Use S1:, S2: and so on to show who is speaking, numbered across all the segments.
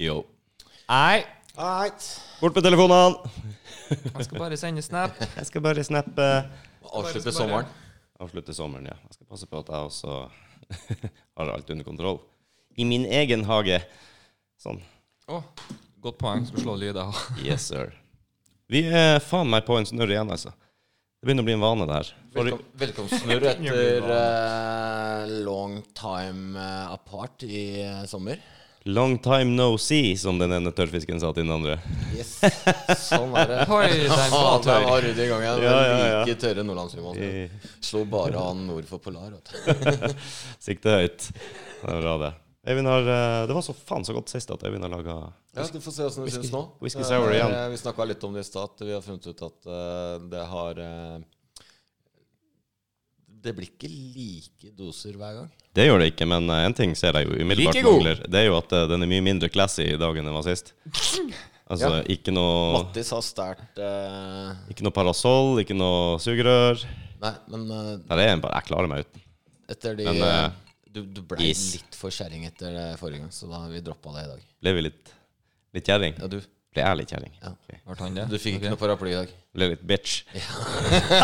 S1: Yo.
S2: Nei.
S3: Alright.
S2: Bort med telefonene!
S4: Jeg skal bare sende snap.
S3: Jeg skal bare snappe
S1: Avslutte sommeren.
S3: Avslutte sommeren, ja. Jeg skal passe på at jeg også har alt under kontroll. I min egen hage. Sånn.
S4: Å, godt poeng. Skal slå lyder. av.
S3: Yes, sir. Vi er faen meg på en snurr igjen, altså. Det begynner å bli en vane, det her. Forrige-
S1: Velkom- Velkomstsnurr etter eh, long time eh, apart i eh, sommer.
S3: Long time no see, som den ene tørrfisken sa til den andre.
S1: Yes. Sånn er det.
S4: Oi, den var
S1: Faen, det
S4: tørr.
S1: var ryddig i gangen.
S3: Ja, ja, ja.
S1: Like tørre nordlandsrummet.
S3: I-
S1: Slo bare an nord for polar. Vet du.
S3: Sikte høyt. Det er bra, det. Øyvind har eh, Det var så faen så godt sist at Øyvind har laga
S1: Ja, du får se hvordan det syns nå.
S3: Whisky sour
S1: Eh,
S3: igjen.
S1: Vi snakka litt om det i stad. at Vi har funnet ut at eh, det har eh, Det blir ikke like doser hver gang.
S3: Det gjør det ikke, men eh, en ting ser jeg jo umiddelbart
S1: Like god.
S3: mangler. Det er jo at eh, den er mye mindre classy i dag enn den var sist. Altså
S1: Ja.
S3: ikke noe
S1: Mattis har stært eh,
S3: Ikke noe parasoll, ikke noe sugerør.
S1: Nei, men eh,
S3: Her er en bare Jeg klarer meg uten.
S1: etter de
S3: Men, eh,
S1: Du, du blei
S3: is.
S1: litt for kjerring etter det forrige gang, så da har vi droppa det i dag.
S3: Ble vi litt Litt kjerring?
S1: Ja, du.
S3: Ble jeg litt kjerring?
S1: Ja.
S4: Ble han det?
S1: Du fikk
S4: Ok.
S1: ikke noe paraply i dag.
S3: Ble litt bitch?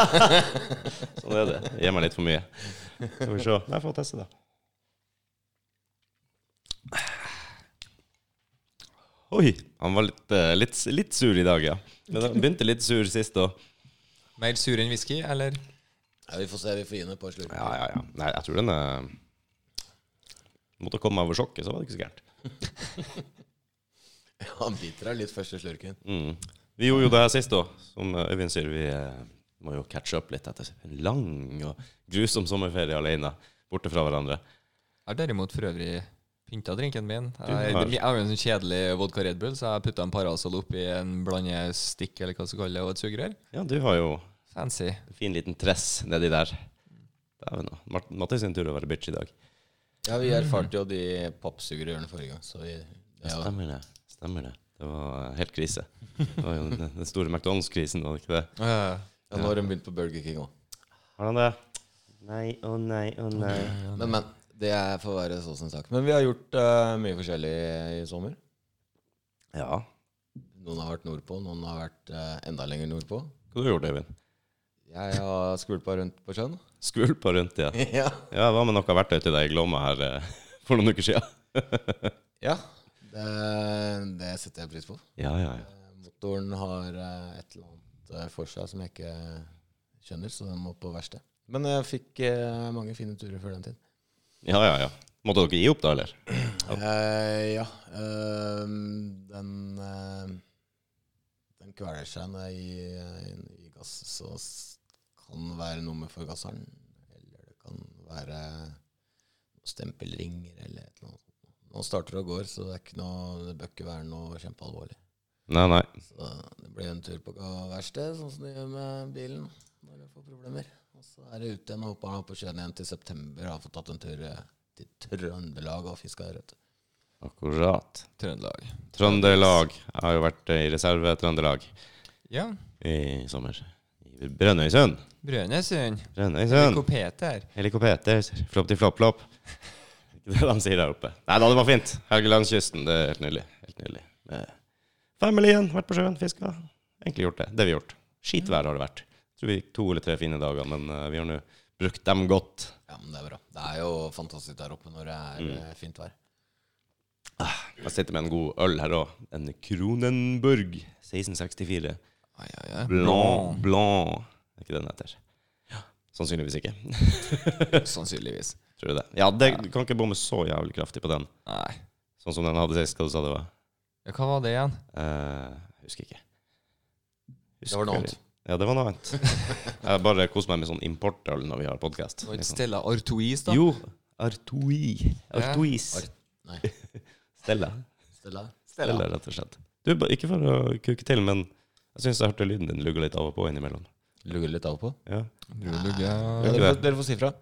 S3: sånn er det. Gir meg litt for mye. Skal vi se. Nei, få teste det. Oi! Han var litt, eh, litt, litt sur i dag, ja. Men han begynte litt sur sist òg.
S4: Mer sur enn whisky, eller?
S1: Ja, vi får se. Vi får gi den et par slurk.
S3: Ja, ja, ja. Nei, jeg tror den eh, Måtte komme meg over sjokket, så var det ikke så gærent.
S1: Han biter deg litt først i slurken.
S3: Mm. Vi gjorde jo det her sist òg, som eh, Øyvind sier. Vi eh, må jo catche up litt etter en lang og grusom sommerferie alene, borte fra hverandre.
S4: Jeg har derimot for øvrig pynta drinken min. Jeg,
S3: Du har.
S4: jeg har jo en sånn kjedelig vodka Red Bull, så jeg putta en Parasol oppi en blandestikk eller hva du kaller det, og et sugerør.
S3: Ja, du har jo
S4: Fancy.
S3: en fin liten tress nedi der. Dæven, da. Mart- Mattis sin tur å være bitch i dag.
S1: Ja, vi erfarte jo de pappsugerørene forrige gang, så vi det er jo-
S3: Stemmer det. Stemmer det. Det var eh, helt krise. Det var jo den den store McDonald's-krisen, var det ikke det?
S1: ja, Nå har de begynt på Burger King òg.
S3: Har han det? Nei å nei å nei.
S1: Men, men. Det er- får være så sin sak. Men vi har gjort eh, mye forskjellig i sommer.
S3: Ja.
S1: Noen har vært nordpå, noen har vært eh, enda lenger nordpå.
S3: Hva har du gjort, Øyvind?
S1: Jeg har skvulpa rundt på sjøen.
S3: Skvulpa rundt, ja.
S1: ja.
S3: Ja, hva med noe verktøy til deg i Glomma her eh, for noen uker siden?
S1: ja. Det, det setter jeg pris på.
S3: Ja, ja, ja.
S1: Eh, Motoren har eh, et eller annet eh, for seg som jeg ikke skjønner, så den må på verksted. Men jeg fikk eh, mange fine turer før den tid.
S3: Ja, ja, ja. Måtte dere gi opp da, eller?
S1: Eh, ja. eh, den eh, Den kveler seg når jeg gir eh, i gass, så s- kan det være noe med forgasseren. Eller det kan være stempelringer eller et eller annet. Nå starter det og går, så det, er ikke noe, det bør ikke være noe kjempealvorlig.
S3: Nei, nei.
S1: Så det blir en tur på verksted, sånn som det gjør med bilen når det får problemer. Og så er det ute igjen og hopper han opp på sjøen igjen til september. Har fått tatt en tur eh, til Trøndelag og fiska ørret.
S3: Akkurat.
S4: Trøndelag.
S3: Trøndelag. Jeg har jo vært eh, i reserve Trøndelag
S4: Ja.
S3: i sommer. I Brønnøysund.
S4: Brønnøysund.
S3: Brønnøysund.
S4: Kopeter.
S3: Helikopeter, flopp til flopp-flopp. Ikke det de sier der oppe. Nei da, det var fint. Helgelandskysten, det er helt nydelig. Helt nydelig. Med Familien, vært på sjøen, fiska. Egentlig gjort det. Det vi har gjort. Skitvær har det vært. Tror vi gikk to eller tre fine dager, men eh, vi har nå brukt dem godt.
S1: Ja, men det er bra. Det er jo fantastisk der oppe når det er
S4: Mm.
S1: eh, fint vær.
S3: Jeg sitter med en god øl her òg. En Kronenburg 1664.
S4: Ai, ai, ai.
S3: Blanc. Blanc. Er ikke det den heter? Sannsynligvis ikke.
S4: Sannsynligvis.
S3: Tror du det? Ja, det du kan ikke bomme så jævlig kraftig på den.
S4: Nei.
S3: Sånn som den hadde sist, hva du sa det var.
S4: Ja, hva var det igjen?
S3: Eh, husker ikke.
S1: Det var noe annet.
S3: Ja, det var noe annet. Jeg bare koser meg med sånn importøl når vi har podkast.
S4: Var det ikke Stella Artois, da?
S3: Jo, Artui. Artuis.
S1: Nei,
S3: Stella.
S1: Stella.
S3: Stella, rett og slett. Du, ba- ikke for å kuke til, men jeg syns jeg hørte lyden din lugge litt av og på innimellom.
S1: Lugger litt av og på.
S3: Ja.
S1: Ja,
S4: Lugge.
S1: dere, får- dere får si fra.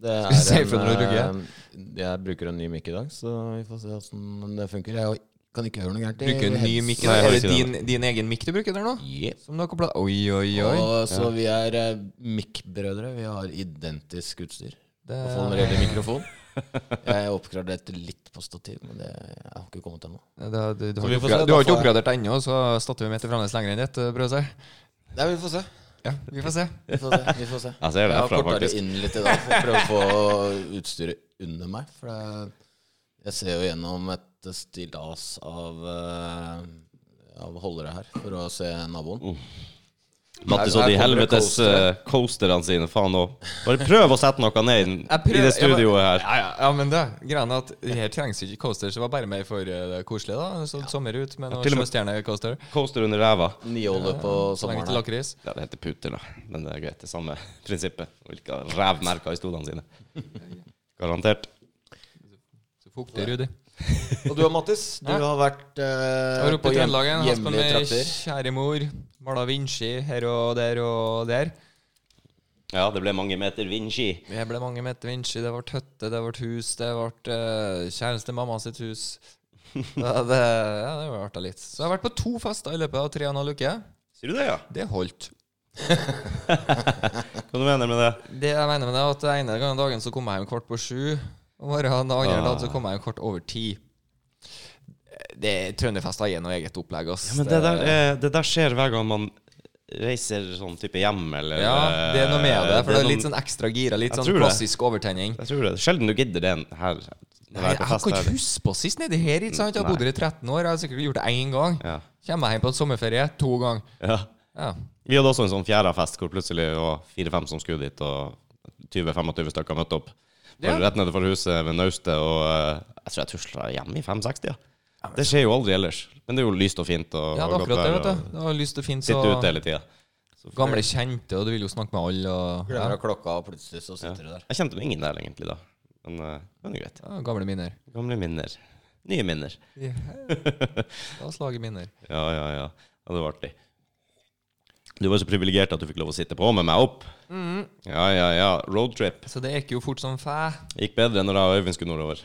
S1: Det
S4: Skal vi si
S1: en,
S4: fra når du rugger?
S1: eh, Jeg bruker en ny mic i dag, så vi får se hvordan det funker. Jeg kan ikke høre noe gærent. i
S4: Bruker en ny
S1: heads-
S4: mic.
S3: Nei, jeg har
S4: Er det
S3: ikke den.
S4: din, din egen mic du bruker der nå?
S1: Yep.
S4: Som du har koblet Oi, oi, oi.
S1: Og så vi er eh, mic-brødre. Vi har identisk utstyr.
S4: Det
S1: Og for når det gjelder mikrofon Jeg oppgraderte litt på stativ, men det jeg har ikke kommet ennå.
S4: Det, det, du,
S1: Så
S4: har
S1: vi
S4: ikke
S1: får se, da
S4: oppgra- du har ikke
S1: får jeg-
S4: oppgradert ennå, så statuemeter fremdeles lenger enn ditt, Brødse.
S1: Nei, vi får se.
S4: Ja, vi får se.
S1: Vi får se. Vi får se.
S3: Jeg ser det
S1: Jeg har
S3: herfra,
S1: korta det
S3: faktisk.
S1: inn litt i dag for å prøve å få utstyret under meg. For det, jeg ser jo gjennom et stillas av, eh, av holdere her for å se naboen.
S3: Mattis
S4: Her-
S3: og
S4: her
S3: de
S4: kommer det
S3: helvetes
S4: coastere.
S3: eh, coasterne sine, faen òg. Bare prøv å sette noe ned i den-
S4: Jeg
S3: i
S4: prøver-
S3: det
S4: jeg bare-
S3: studioet her.
S4: Ja, ja, ja, men det greia er at her trengs ikke coaster, så det var bare mer for eh, det koselige, da. Så sommer ut med noen
S3: til og med-
S4: sjøstjernecoaster.
S3: Coaster under ræva.
S1: Nye holder på
S4: Så lenge til
S1: sommeren. her.
S4: lakris.
S3: Ja, det heter puter, da. Men det er greit. Det er samme prinsippet. Hvilke rævmerker i stolene sine. Garantert.
S4: Så fuktig, Rudi.
S1: Og du og Mattis, du
S4: Ja.
S1: har vært eh,
S4: Jeg var oppe
S1: på
S4: i
S1: hjem,
S4: Trøndelag en hatt på
S1: hjemlige
S4: med
S1: trakter.
S4: kjære mor. Mala vindski her og der og der.
S3: Ja, det ble mange meter vindski.
S4: Det ble mange meter vindski. Det ble hytte, det ble hus, det ble eh, kjæreste mamma sitt hus. Ja, det, ja, det var artig litt. Så jeg har vært på to fester i løpet av tre og en halv uke.
S3: Sier du det, ja?
S4: Det holdt.
S3: Hva du mener med det?
S4: Det jeg mener med det, er at den ene gangen dagen så kom jeg hjem kvart på sju. Om morgenen, den andre
S3: Ah.
S4: dagen så kom jeg hjem kvart over ti. Det Trønderfest har igjen noe eget opplegg, ass.
S3: Ja, men det der, eh, det der skjer hver gang man reiser sånn type hjem, eller eh,
S4: ja, det er noe med det. For det er
S3: noe-
S4: litt sånn ekstra gira. Litt
S3: Jeg
S4: sånn
S3: tror det.
S4: klassisk overtenning.
S3: Jeg tror det. Sjelden du gidder det her. når
S4: Nei,
S3: jeg er
S4: jeg
S3: på
S4: kan
S3: fest
S4: ikke
S3: her.
S4: huske på sist nedi her. Ikke sant? Jeg har
S3: Nei.
S4: bodd her i 13 år. Jeg har sikkert gjort det én gang.
S3: Ja.
S4: Kommer jeg hjem på en sommerferie to ganger.
S3: ja.
S4: Ja.
S3: Vi hadde også en sånn fjerdafest hvor plutselig det var fire-fem som skulle dit, og 20-25 stykker møtte opp.
S4: Ja.
S3: Var Rett nede for huset ved naustet, og eh, jeg tror jeg tusla hjem i 5-60-tida. Det skjer jo aldri ellers. Men det er jo lyst og fint. Og,
S4: ja,
S3: og
S4: det er
S3: godt
S4: akkurat det.
S3: vær,
S4: vet du Det var lyst og fint.
S3: og Sitte ute
S4: Så
S3: hele tida.
S4: gamle kjente, og du vil jo snakke med alle. Og, ja.
S1: Glemmer av klokka, og plutselig så sitter du der.
S3: Jeg kjente ingen der egentlig da. Men eh, men det er greit.
S4: Ja, gamle minner.
S3: Gamle minner. Nye minner.
S4: Ja. La oss lage minner.
S3: Ja, ja, ja. ja det var artig. Du var så privilegert at du fikk lov å sitte på med meg opp.
S4: Mm.
S3: Ja, ja, ja. Roadtrip.
S4: Så det gikk jo fort som fæ.
S3: Gikk bedre når jeg og Øyvind skulle nordover.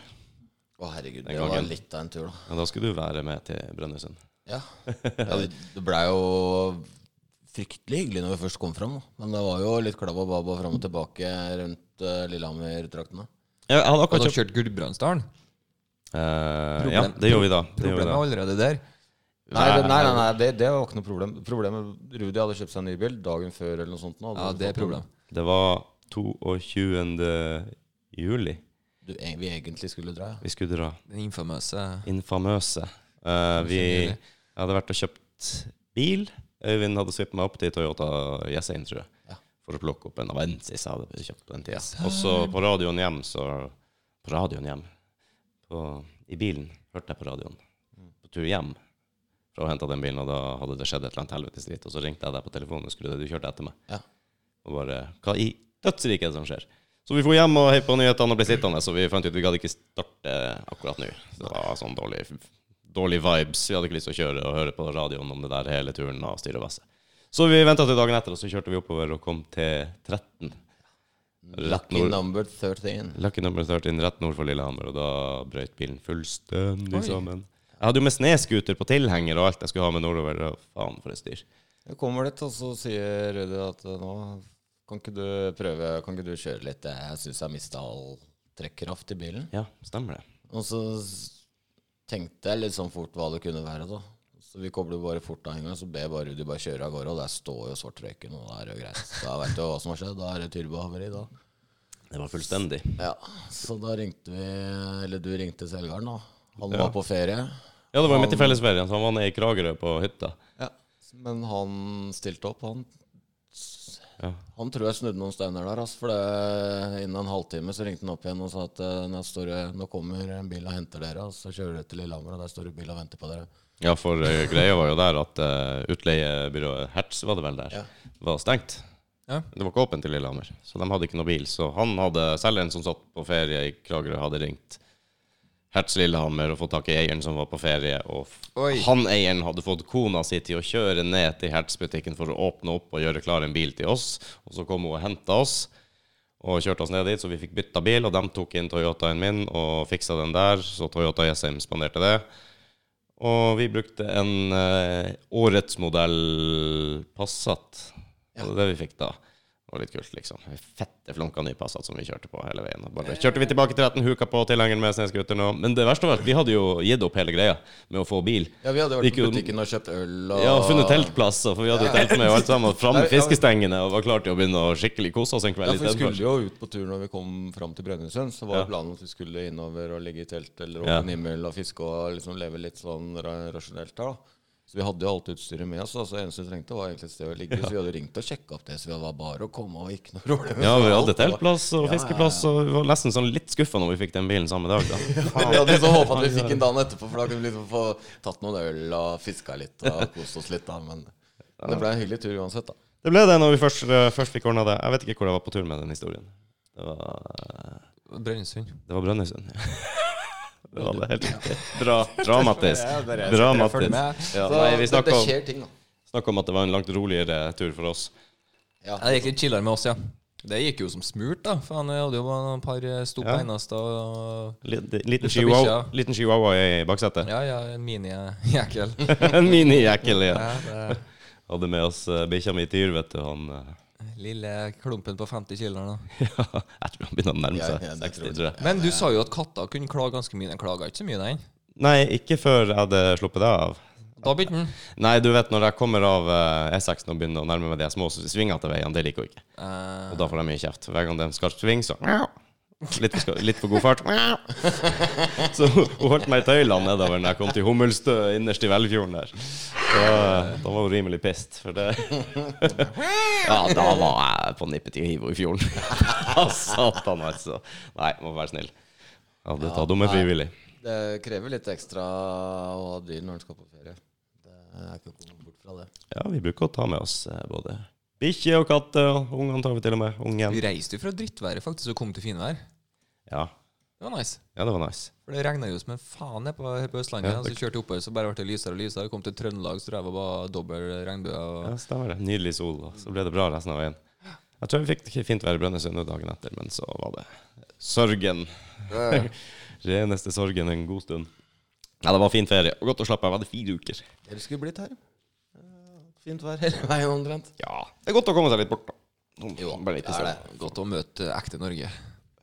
S1: Å, herregud,
S3: Den
S1: det var
S3: gangen.
S1: litt av en tur, da.
S3: Ja, da skulle du være med til Brønnøysund.
S1: Ja. Det, det blei jo fryktelig hyggelig når vi først kom fram, da. Men det var jo litt klabb og babb og fram og tilbake rundt eh, Lillehammer-traktene.
S3: Ja, Jeg hadde
S4: Og
S3: akkurat
S4: da
S3: kjøpt
S4: kjørte Gudbrandsdalen.
S3: Eh, Ja,
S4: Problem-
S3: det gjorde vi da. Det
S4: Problemet
S3: gjorde vi
S4: er
S3: da.
S4: allerede der.
S1: Nei, det, nei, nei, nei det, det var ikke noe problem. Problemet Rudi hadde kjøpt seg en ny bil dagen før eller noe sånt. Nå,
S4: Ja, det er problem.
S3: Det var 22. juli
S1: Du, eh, vi egentlig skulle dra, ja.
S3: vi skulle dra.
S4: Den infamøse
S3: Infamøse. Eh, vi
S4: juli.
S3: jeg hadde vært og kjøpt bil. Øyvind hadde svippet meg opp til Toyota Jessheim, tror jeg.
S1: Ja.
S3: For å plukke opp en Avensis jeg hadde kjøpt på den tida. Og så på radioen hjem, så På radioen hjem. På, I bilen hørte jeg på radioen. På tur hjem fra å hente den bilen, og da hadde det skjedd et eller annet helvetes dritt. Og så ringte jeg deg på telefonen, husker du det? Du kjørte etter meg.
S1: Ja.
S3: Og bare Hva i dødsriket er det som skjer? Så vi dro hjem og heiv på nyhetene og ble sittende, så vi fant ut vi gadd ikke starte akkurat nå. Så det var sånn dårlig, dårlig vibes. Vi hadde ikke lyst til å kjøre og høre på radioen om det der hele turen og styre og vasse. Så vi venta til dagen etter, og så kjørte vi oppover og kom til 13. Rett
S1: Lucky
S3: nord.
S1: number 13.
S3: Lucky number 13 rett nord for Lillehammer, og da brøyt bilen fullstendig sammen. Jeg hadde jo med snescooter på tilhenger og alt jeg skulle ha med nordover. Og faen, for et styr.
S1: Jeg kommer dit, og så sier Rudi at eh, nå kan ikke du prøve, kan ikke du kjøre litt? Jeg syns jeg mista all trekkraft i bilen.
S3: Ja, stemmer det.
S1: Og så s- tenkte jeg litt sånn fort hva det kunne være, da. Så vi kobler bare fort av en gang, så ber jeg bare Rudi bare kjøre av gårde, og der står jo svartrøyken, og da er det jo greit. Så Da veit du hva som har skjedd, da er det turbohavari, da.
S3: Det var fullstendig.
S1: Ja, så da ringte vi, eller du ringte Selgarden, da. Han var på ferie,
S3: Ja, det var midt i fellesferien, så han var nede i Kragerø på hytta.
S1: men han stilte opp, han. S-
S3: Ja.
S1: Han tror jeg snudde noen steiner der, altså, for det, innen en halvtime så ringte han opp igjen og sa at eh, nå, står det, nå kommer en bil og henter dere, og så kjører dere til Lillehammer, og der står det bil og venter på dere.
S3: Ja, for eh, greia var jo der at eh, utleiebyrået Hertz var det vel der,
S1: Ja.
S3: var stengt.
S4: Ja.
S3: Det var ikke åpent i Lillehammer, så de hadde ikke noe bil. Så han hadde, selgeren som satt på ferie i Kragerø, hadde ringt Hertz Lillehammer og fått tak i eieren som var på ferie. Og f-
S4: Oi.
S3: han eieren hadde fått kona si til å kjøre ned til Hertz-butikken for å åpne opp og gjøre klar en bil til oss. Og så kom hun og henta oss og kjørte oss ned dit, så vi fikk bytta bil. Og de tok inn Toyotaen min og fiksa den der, så Toyota Jessheim spanderte det. Og vi brukte en eh, årets modell Passat. Det var det vi fikk da. Det var litt kult, liksom. Vi Fette flunka ny Passat som vi kjørte på hele veien. Og bare kjørte vi tilbake til retten, huka på tilhengeren med snøscooter nå. Men det verste var at vi hadde jo gitt opp hele greia med å få bil.
S1: Ja, vi hadde vært
S3: Gikk
S1: på
S3: jo-
S1: butikken og kjøpt øl og
S3: Ja, og funnet teltplasser, for vi hadde jo telt med og alt sammen. Og fram med fiskestengene og var klar til å begynne å skikkelig kose oss en
S1: Ja,
S3: kveld. i
S1: for vi
S3: stedet for.
S1: skulle jo ut på tur når vi kom fram til Brønnøysund. Så var
S3: Ja.
S1: planen at vi skulle innover og ligge i telt eller
S3: Ja.
S1: åpen himmel og fiske og liksom leve litt sånn ra- rasjonelt her, da. Så vi hadde jo alt utstyret med oss, da, så det eneste vi trengte, var egentlig et sted å ligge. Så vi hadde ringt og sjekka opp det, så det var bare å komme og ikke noe rolig.
S3: Ja, vi hadde
S1: Alt var-
S3: teltplass og fiskeplass, og vi var nesten sånn litt skuffa når vi fikk den bilen samme dag, da.
S1: Men vi hadde liksom håpa at vi fikk en dag etterpå, for da kunne vi liksom få tatt noen øl og fiska litt og kost oss litt, da. Men det ble en hyggelig tur uansett, da.
S3: Det ble det når vi først, eh, først fikk ordna det. Jeg vet ikke hvor jeg var på tur med den historien. Det var, eh,
S4: Brønnøysund.
S3: det var Brønnøysund. Det var det helt riktig. Dra, dramatisk. Dramatisk. Ja,
S1: Så
S3: nei, vi
S1: det,
S3: snakka
S1: det
S3: om,
S1: skjer ting, da.
S3: snakka om at det var en langt roligere tur for oss.
S1: Ja.
S4: Ja, det gikk litt chillere med oss, ja. Det gikk jo som smurt, da. Faen, jeg hadde jo bare noen par eh, stop
S3: Ja.
S4: eneste og
S3: Liten, liten,
S4: Liten
S3: chihuahua,
S4: bikkje,
S3: liten chihuahua i baksetet.
S4: Ja, ja, en mini-jækel.
S3: En mini-jekkel. Ja.
S4: Ja, det
S3: Hadde med oss eh, bikkja mi til Tyr, vet du. Han eh,
S4: er lille klumpen på 50 kilo nå.
S3: ja, Jeg tror han begynner å nærme
S1: Ja,
S3: seg
S1: ja, det
S3: 60,
S1: tror jeg.
S3: tror jeg.
S4: Men du sa jo at katter kunne klage ganske mye. Den klaga ikke så mye, den.
S3: Nei, ikke før jeg hadde sluppet deg av.
S4: Da begynte den.
S3: Nei, du vet når jeg kommer av eh, E6 og begynner å nærme meg de små svingene til veien, det liker hun ikke.
S4: Eh,
S3: Og da får jeg mye kjeft. Hver gang det er en skarp sving, så Litt for, ska- litt for god fart. Så hun holdt meg i tøylene nedover når jeg kom til Hummelstø innerst i Velfjorden der. Så, eh, da var hun rimelig pissed, for det Ja, da var jeg på nippet til å hive henne i fjorden. Ja, Satan, altså. Nei, må være snill. Ja, det tar dumme frivillig.
S1: Det krever litt ekstra å ha dyr når en skal på ferie. Det er ikke å komme bort fra det.
S3: Ja, vi bruker å ta med oss eh, både bikkje og katt, og ungene tar vi til og med. Ungen.
S4: Vi reiste jo fra drittværet faktisk og kom til finvær.
S3: Ja.
S4: Det var nice.
S3: ja, det var nice.
S4: For det regna jo som en faen her på, her på Østlandet.
S3: Ja,
S4: og så kjørte jeg oppover, så bare ble det lysere og lysere. Kom til Trøndelag, så drev jeg bare dobbel regnbue. Og...
S3: Ja, stemmer det. Nydelig sol, og så ble det bra resten av veien. Jeg tror vi fikk fint vær i Brønnøysund dagen etter, men så var det sorgen. Reneste sorgen en god stund. Ja, det var fin ferie, og godt å slappe av. Jeg hadde fire uker.
S1: Dere skulle blitt her. Eh, Fint vær hele veien omtrent.
S3: Ja, det er godt å komme seg litt bort, da. Sånn,
S1: Jo,
S3: Bare litt i
S1: det er
S3: sola.
S1: det.
S4: Godt å møte ekte Norge.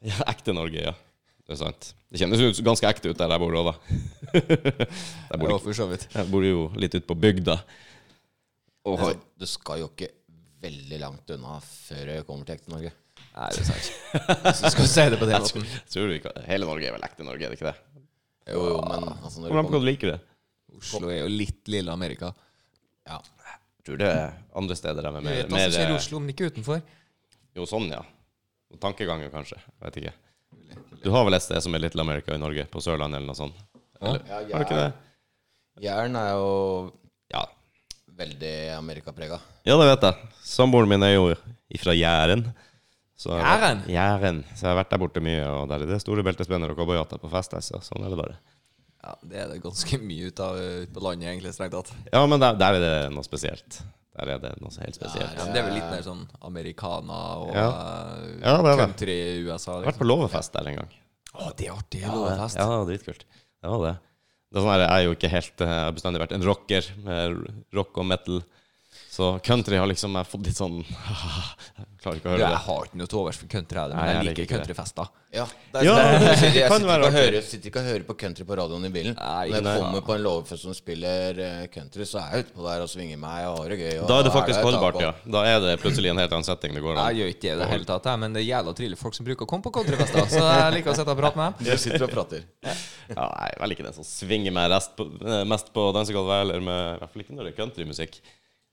S3: Ja, ekte Norge, ja. Det er sant. Det kjennes jo ganske ekte ut der jeg bor òg, da. jeg, bor
S4: Ja,
S3: ikke,
S4: for så vidt.
S3: jeg bor jo litt ute på bygda. Og
S1: Altså, du skal jo ikke veldig langt unna før jeg kommer til ekte Norge.
S4: Nei, det er sant. Hvis du skal si det på den måten.
S3: tror du ikke Hele Norge er vel ekte Norge, er det ikke det?
S1: Jo, jo, men altså, når du
S3: Hvordan
S1: kommer
S3: kan du like det?
S4: Oslo er jo litt lille Amerika.
S1: ja.
S3: Jeg tror det er andre steder de er
S4: Jeg
S3: mer,
S4: vet hva som skjer i
S3: mer
S4: Oslo, men ikke utenfor.
S3: Jo, sånn, ja. Og tankeganger, kanskje. Jeg vet ikke. Du har vel et sted som er Little America i Norge? På Sørlandet, eller noe sånt? Eller,
S1: Ja,
S3: har du ikke det?
S1: Jæren er jo
S3: Ja.
S1: veldig amerikaprega.
S3: ja, det vet jeg. Samboeren min er jo ifra Jæren. Så jeg har vært-
S4: Jæren?
S3: Jæren. Så jeg har vært der borte mye, og der er det store beltespenner og cowboyhatter på fest. altså. Sånn er det bare.
S4: Ja, Det er det ganske mye ut av eh, ute på landet, egentlig, strengt tatt.
S3: Ja, men der, der er det noe spesielt. Der er det noe helt spesielt.
S4: Ja, men det er vel litt mer sånn americana og
S3: Ja.
S4: eh,
S3: Ja, det er det.
S4: country i USA.
S3: Jeg har vært
S4: Liksom.
S3: på låvefest der en gang.
S4: Å, det er artig!
S3: Ja, det-
S4: Låvefest.
S3: Ja, det var dritkult. Det var det. det er sånn her, jeg er jo ikke helt eh, Jeg har bestandig vært en rocker med r- rock og metal. Så country har liksom jeg fått litt sånn Jeg klarer ikke å
S4: Du,
S3: høre
S4: jeg
S3: det.
S4: har ikke noe til overs for country, jeg,
S3: Nei,
S4: men jeg
S3: jeg
S4: liker
S3: liker ikke det.
S4: countryfester.
S1: Ja, det er,
S3: Ja,
S1: det,
S3: det kan
S1: jeg sitter, jeg sitter,
S3: være
S1: ikke og
S3: artig.
S1: hører, sitter ikke og hører på country på radioen i bilen.
S4: Nei,
S1: Når jeg
S4: nei.
S1: kommer på en lovfest som spiller eh, country, så er jeg utpå der og svinger meg og har det gøy. Og
S3: Da er det faktisk
S1: et
S3: holdbart,
S1: tak
S3: ja.
S1: opp.
S3: Da er det plutselig en helt annen setting det går
S4: Jeg
S3: an.
S4: gjør ikke det i det hele tatt, jeg, men det er jævla trivelig folk som bruker å komme på countryfester, så jeg liker å sitte og prate med dem.
S1: Du sitter og prater.
S3: Ja, nei, jeg er vel ikke den som svinger meg rest på, eh, mest på dansegulvet, eller med I hvert fall ikke når det er countrymusikk.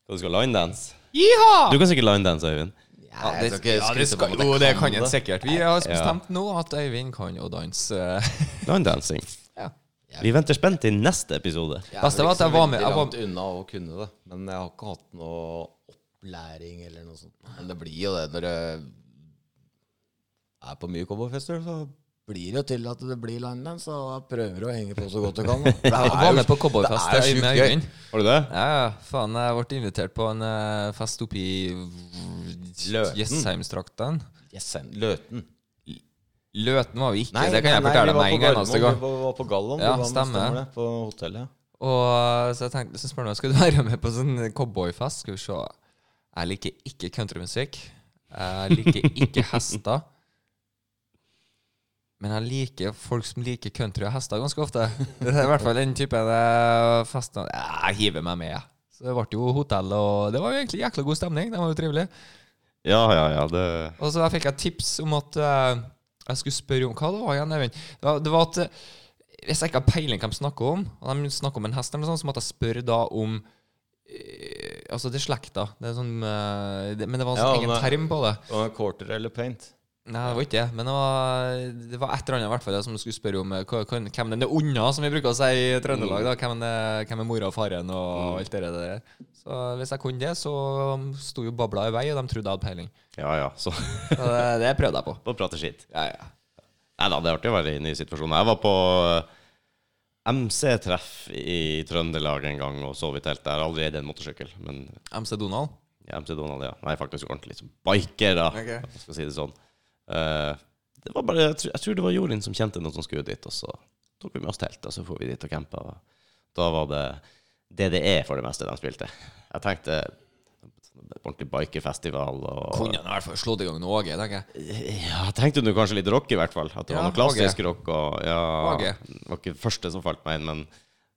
S3: Og Du skal linedance.
S4: Jiha!
S3: Du kan sikkert linedance, Øyvind.
S1: Ja, jeg skal ikke
S4: ja, det,
S1: skryte på
S4: skal,
S1: meg at jeg
S4: jo, det
S1: kan
S4: kan en
S1: det.
S4: sikkert. Vi har bestemt nå at Øyvind kan jo danse. eh,
S3: Linedancing.
S4: Ja.
S3: Vi venter spent til neste episode.
S1: Jeg liksom er
S4: Beste var
S1: vel
S4: at jeg
S1: ikke så
S4: var med-
S1: veldig
S4: jeg var-
S1: langt unna å kunne det, men jeg har ikke hatt noe opplæring eller noe sånt. Men det blir jo det når du er på mye cowboyfester, så blir det jo til at det blir landdance, og prøver å henge på så godt du kan. da. For det er
S4: Jeg
S1: jo-
S4: var med
S1: det
S4: på
S1: er
S4: cowboyfest
S1: jo
S4: jeg,
S1: sjukt
S4: med
S1: gøy.
S4: Øyvind.
S3: Har du det?
S4: Ja, ja, faen, jeg ble invitert på en eh, fest oppe i
S1: Løten.
S4: Jessheimstrakten.
S1: Yes, en- Løten.
S4: Løten var vi ikke, det kan jeg fortelle deg med en gang. Altså,
S1: Vi var på Gallon,
S4: Ja, var med, stemmer. stemmer
S1: på hotellet.
S4: Og så jeg tenkte, så spør han meg, skal du være med på sånn cowboyfest? Skal vi se. Jeg liker ikke countrymusikk. Jeg liker ikke hester. Men jeg liker folk som liker country og hester ganske ofte. Det er i hvert fall den typen eh, fester Jeg hiver meg med, jeg. Så det ble jo hotell, og det var jo egentlig jækla god stemning. Det var jo trivelig.
S3: Ja, ja, ja. Det
S4: Og så da fikk jeg tips om at eh, jeg skulle spørre om hva det var igjen, Even. Det var, det var at eh, hvis jeg ikke har peiling hva de snakker om, og de snakker om en hest, eller noe sånt, så måtte jeg spørre da om eh, Altså, det er slekta. Det er sånn, eh, det, men det var en
S1: Ja,
S4: sånn egen
S1: men-
S4: term på det.
S1: Quarter eller paint?
S4: Nei, det var ikke det. Men det var, det var et eller annet i hvert fall som du skulle spørre om eh, hva- hva- hvem den er unna, som vi bruker å si i Trøndelag. da, Hvem, er- hvem er mora og faren
S1: Mm.
S4: og alt det der. Så hvis jeg kunne det, så sto jo babla i vei, og de trodde jeg hadde peiling.
S3: Ja, ja. Så
S4: Så det, det prøvde jeg på.
S3: på å prate skitt.
S4: Ja, ja.
S3: Nei da, det er artig å være i nye situasjoner. Jeg var på eh, MC-treff i Trøndelag en gang og sov i telt. Jeg har aldri eid en motorsykkel, men
S4: MC Donald?
S3: ja, MC Donald, ja. Nei, faktisk ordentlig som biker, da.
S4: Ok.
S3: Jeg skal si det sånn. Eh, det var bare, jeg, tror, jeg tror det var Jorunn som kjente noen som skulle dit, og så tok vi med oss telt, og så får vi dit og campa. Da var det DDE for det meste de spilte. Jeg tenkte ordentlig bikerfestival og
S4: Kunne han i hvert fall slått i gang noe Åge, tenker jeg.
S3: Ja, jeg tenkte du kanskje litt rock i hvert fall. At det
S4: Ja,
S3: var noe klassisk rock. Og, ja,
S4: Åge.
S3: det var ikke det første som falt meg inn, men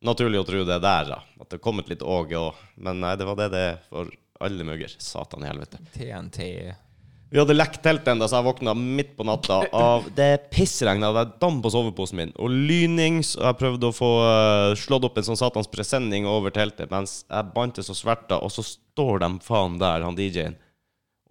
S3: naturlig å tro det der, da. At det kom et litt Åge òg. Men nei, det var det det er for alle mugger. Satan i helvete.
S4: TNT
S3: Vi hadde lekt telt ennå, så jeg våkna midt på natta av det pissregnet. og Det damp på soveposen min. Og lynings. Og jeg prøvde å få eh, slått opp en sånn satans presenning over teltet mens jeg bantes og sverta, og så står de faen der, han DJ-en,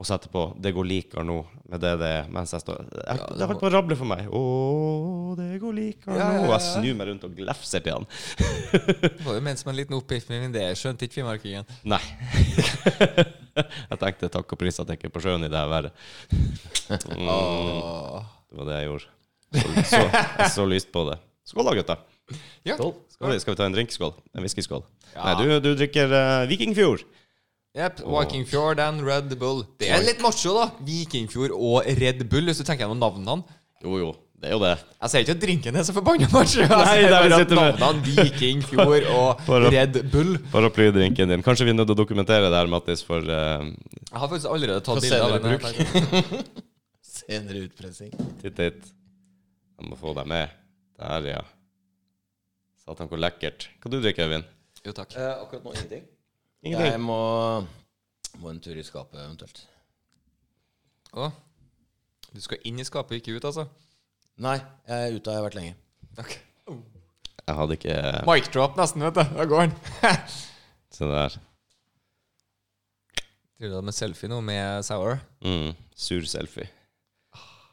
S3: og setter på 'Det går likar nå' med det det er, mens jeg står jeg, Det holdt på å rable for meg. 'Å, det går likar
S4: Ja, ja,
S3: nå'.
S4: ja,
S3: Og jeg snur meg rundt og glefser til han.
S4: Det var jo ment som en liten oppgiftning, men det skjønte ikke finnmarkingen.
S3: Nei. jeg tenkte takk og pris at jeg ikke er på sjøen i det her været. Mm. Det var det jeg gjorde. Så, så, jeg så lyst på det. Skål da, gutta.
S4: Ja.
S3: Skal vi, skal vi ta en drinkskål? En whiskyskål? Nei, du, du drikker eh, Vikingfjord.
S4: Yep, Viking Fjord and Red Bull. Det er litt macho, da! Vikingfjord og Red Bull, hvis du tenker gjennom navnene.
S3: Jo, jo. Det er jo det.
S4: Jeg sier ikke at drinken er så forbanna macho. Jeg
S3: Nei,
S4: sier
S3: der
S4: bare at
S3: sitter vi.
S4: navnene Viking Fjord og
S3: Bare-
S4: Red Bull
S3: Paraplydrinken din. Kanskje vi er nødt til å dokumentere det her, Mattis, for eh,
S4: Jeg har faktisk allerede
S1: For
S4: tatt bilde av
S1: senere
S4: den. her, takk.
S1: Senere utpressing.
S3: titt, titt. Jeg må få deg med. Der, ja. Satan, hvor lekkert. Hva du drikker Øyvind?
S4: Jo, takk.
S1: akkurat nå ingenting.
S3: Ingenting.
S1: Jeg må, må en tur i skapet eventuelt.
S4: Å. Du skal inn i skapet, ikke ut, altså?
S1: Nei, jeg er ute har jeg vært lenge.
S3: Jeg hadde ikke eh,
S4: Mic drop, nesten, vet du. Da går den.
S3: Se sånn der.
S4: Driver du med selfie nå, med sour?
S3: Mm. Sur selfie. Ah.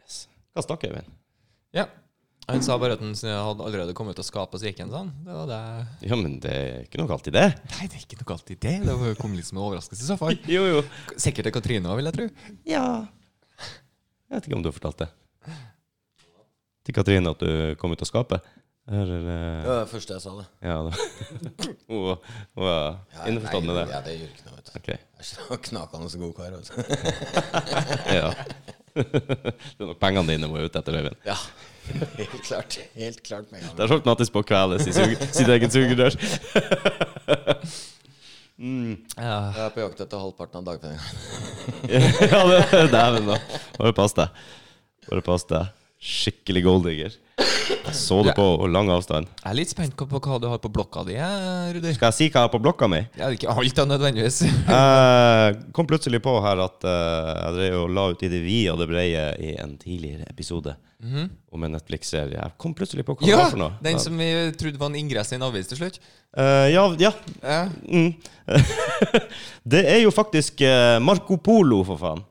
S3: Yes. Hva stakk Øyvind?
S4: Ja. Han sa bare at han hadde allerede kommet ut av skapet, så gikk han sånn. Det var det.
S3: Ja, men det er ikke noe galt i det.
S4: Nei, det er ikke noe galt i det. Det var- kom litt som en overraskelse i så fall.
S3: Jo, jo.
S4: Sikkert til Katrine òg, vil jeg tro.
S3: Ja. Jeg vet ikke om du har fortalt det. Til Katrine at du kom ut av skapet? Eller
S1: Det
S3: eh,
S1: var det første jeg sa det.
S3: Ja. da. Hun hun var innforstått med
S1: nei,
S3: det.
S1: Ja, det gjør ikke noe, vet du.
S3: Ok.
S1: Jeg er så knakende så god kar. Vet du.
S3: Ja. Det er nok pengene dine hun er ute etter, Øyvind.
S1: Ja, helt klart. Helt klart med en gang.
S3: Der holdt Mattis på å kveles i sug- sitt eget sugerør.
S4: Ja.
S1: Jeg er på jakt etter halvparten av dagpenninga.
S3: ja, det dæven, da. Bare pass deg. Bare pass deg. Skikkelig golddigger. Jeg så det på lang avstand.
S4: Jeg er litt spent på hva du har på blokka di, jeg, Rudi.
S3: Skal jeg si hva jeg har på blokka mi?
S4: Ja, det er ikke alt da, nødvendigvis.
S3: Jeg Eh, kom plutselig på her at eh, jeg drev og la ut i det vide og det brede i en tidligere episode om en Netflix-serie. Jeg kom plutselig på hva det
S4: Mhm. Ja!
S3: var for noe.
S4: Den som vi trodde var en ingress i en avis til slutt.
S3: Eh, ja, ja.
S4: Ja.
S3: Mm. det er jo faktisk eh, Marco Polo, for faen.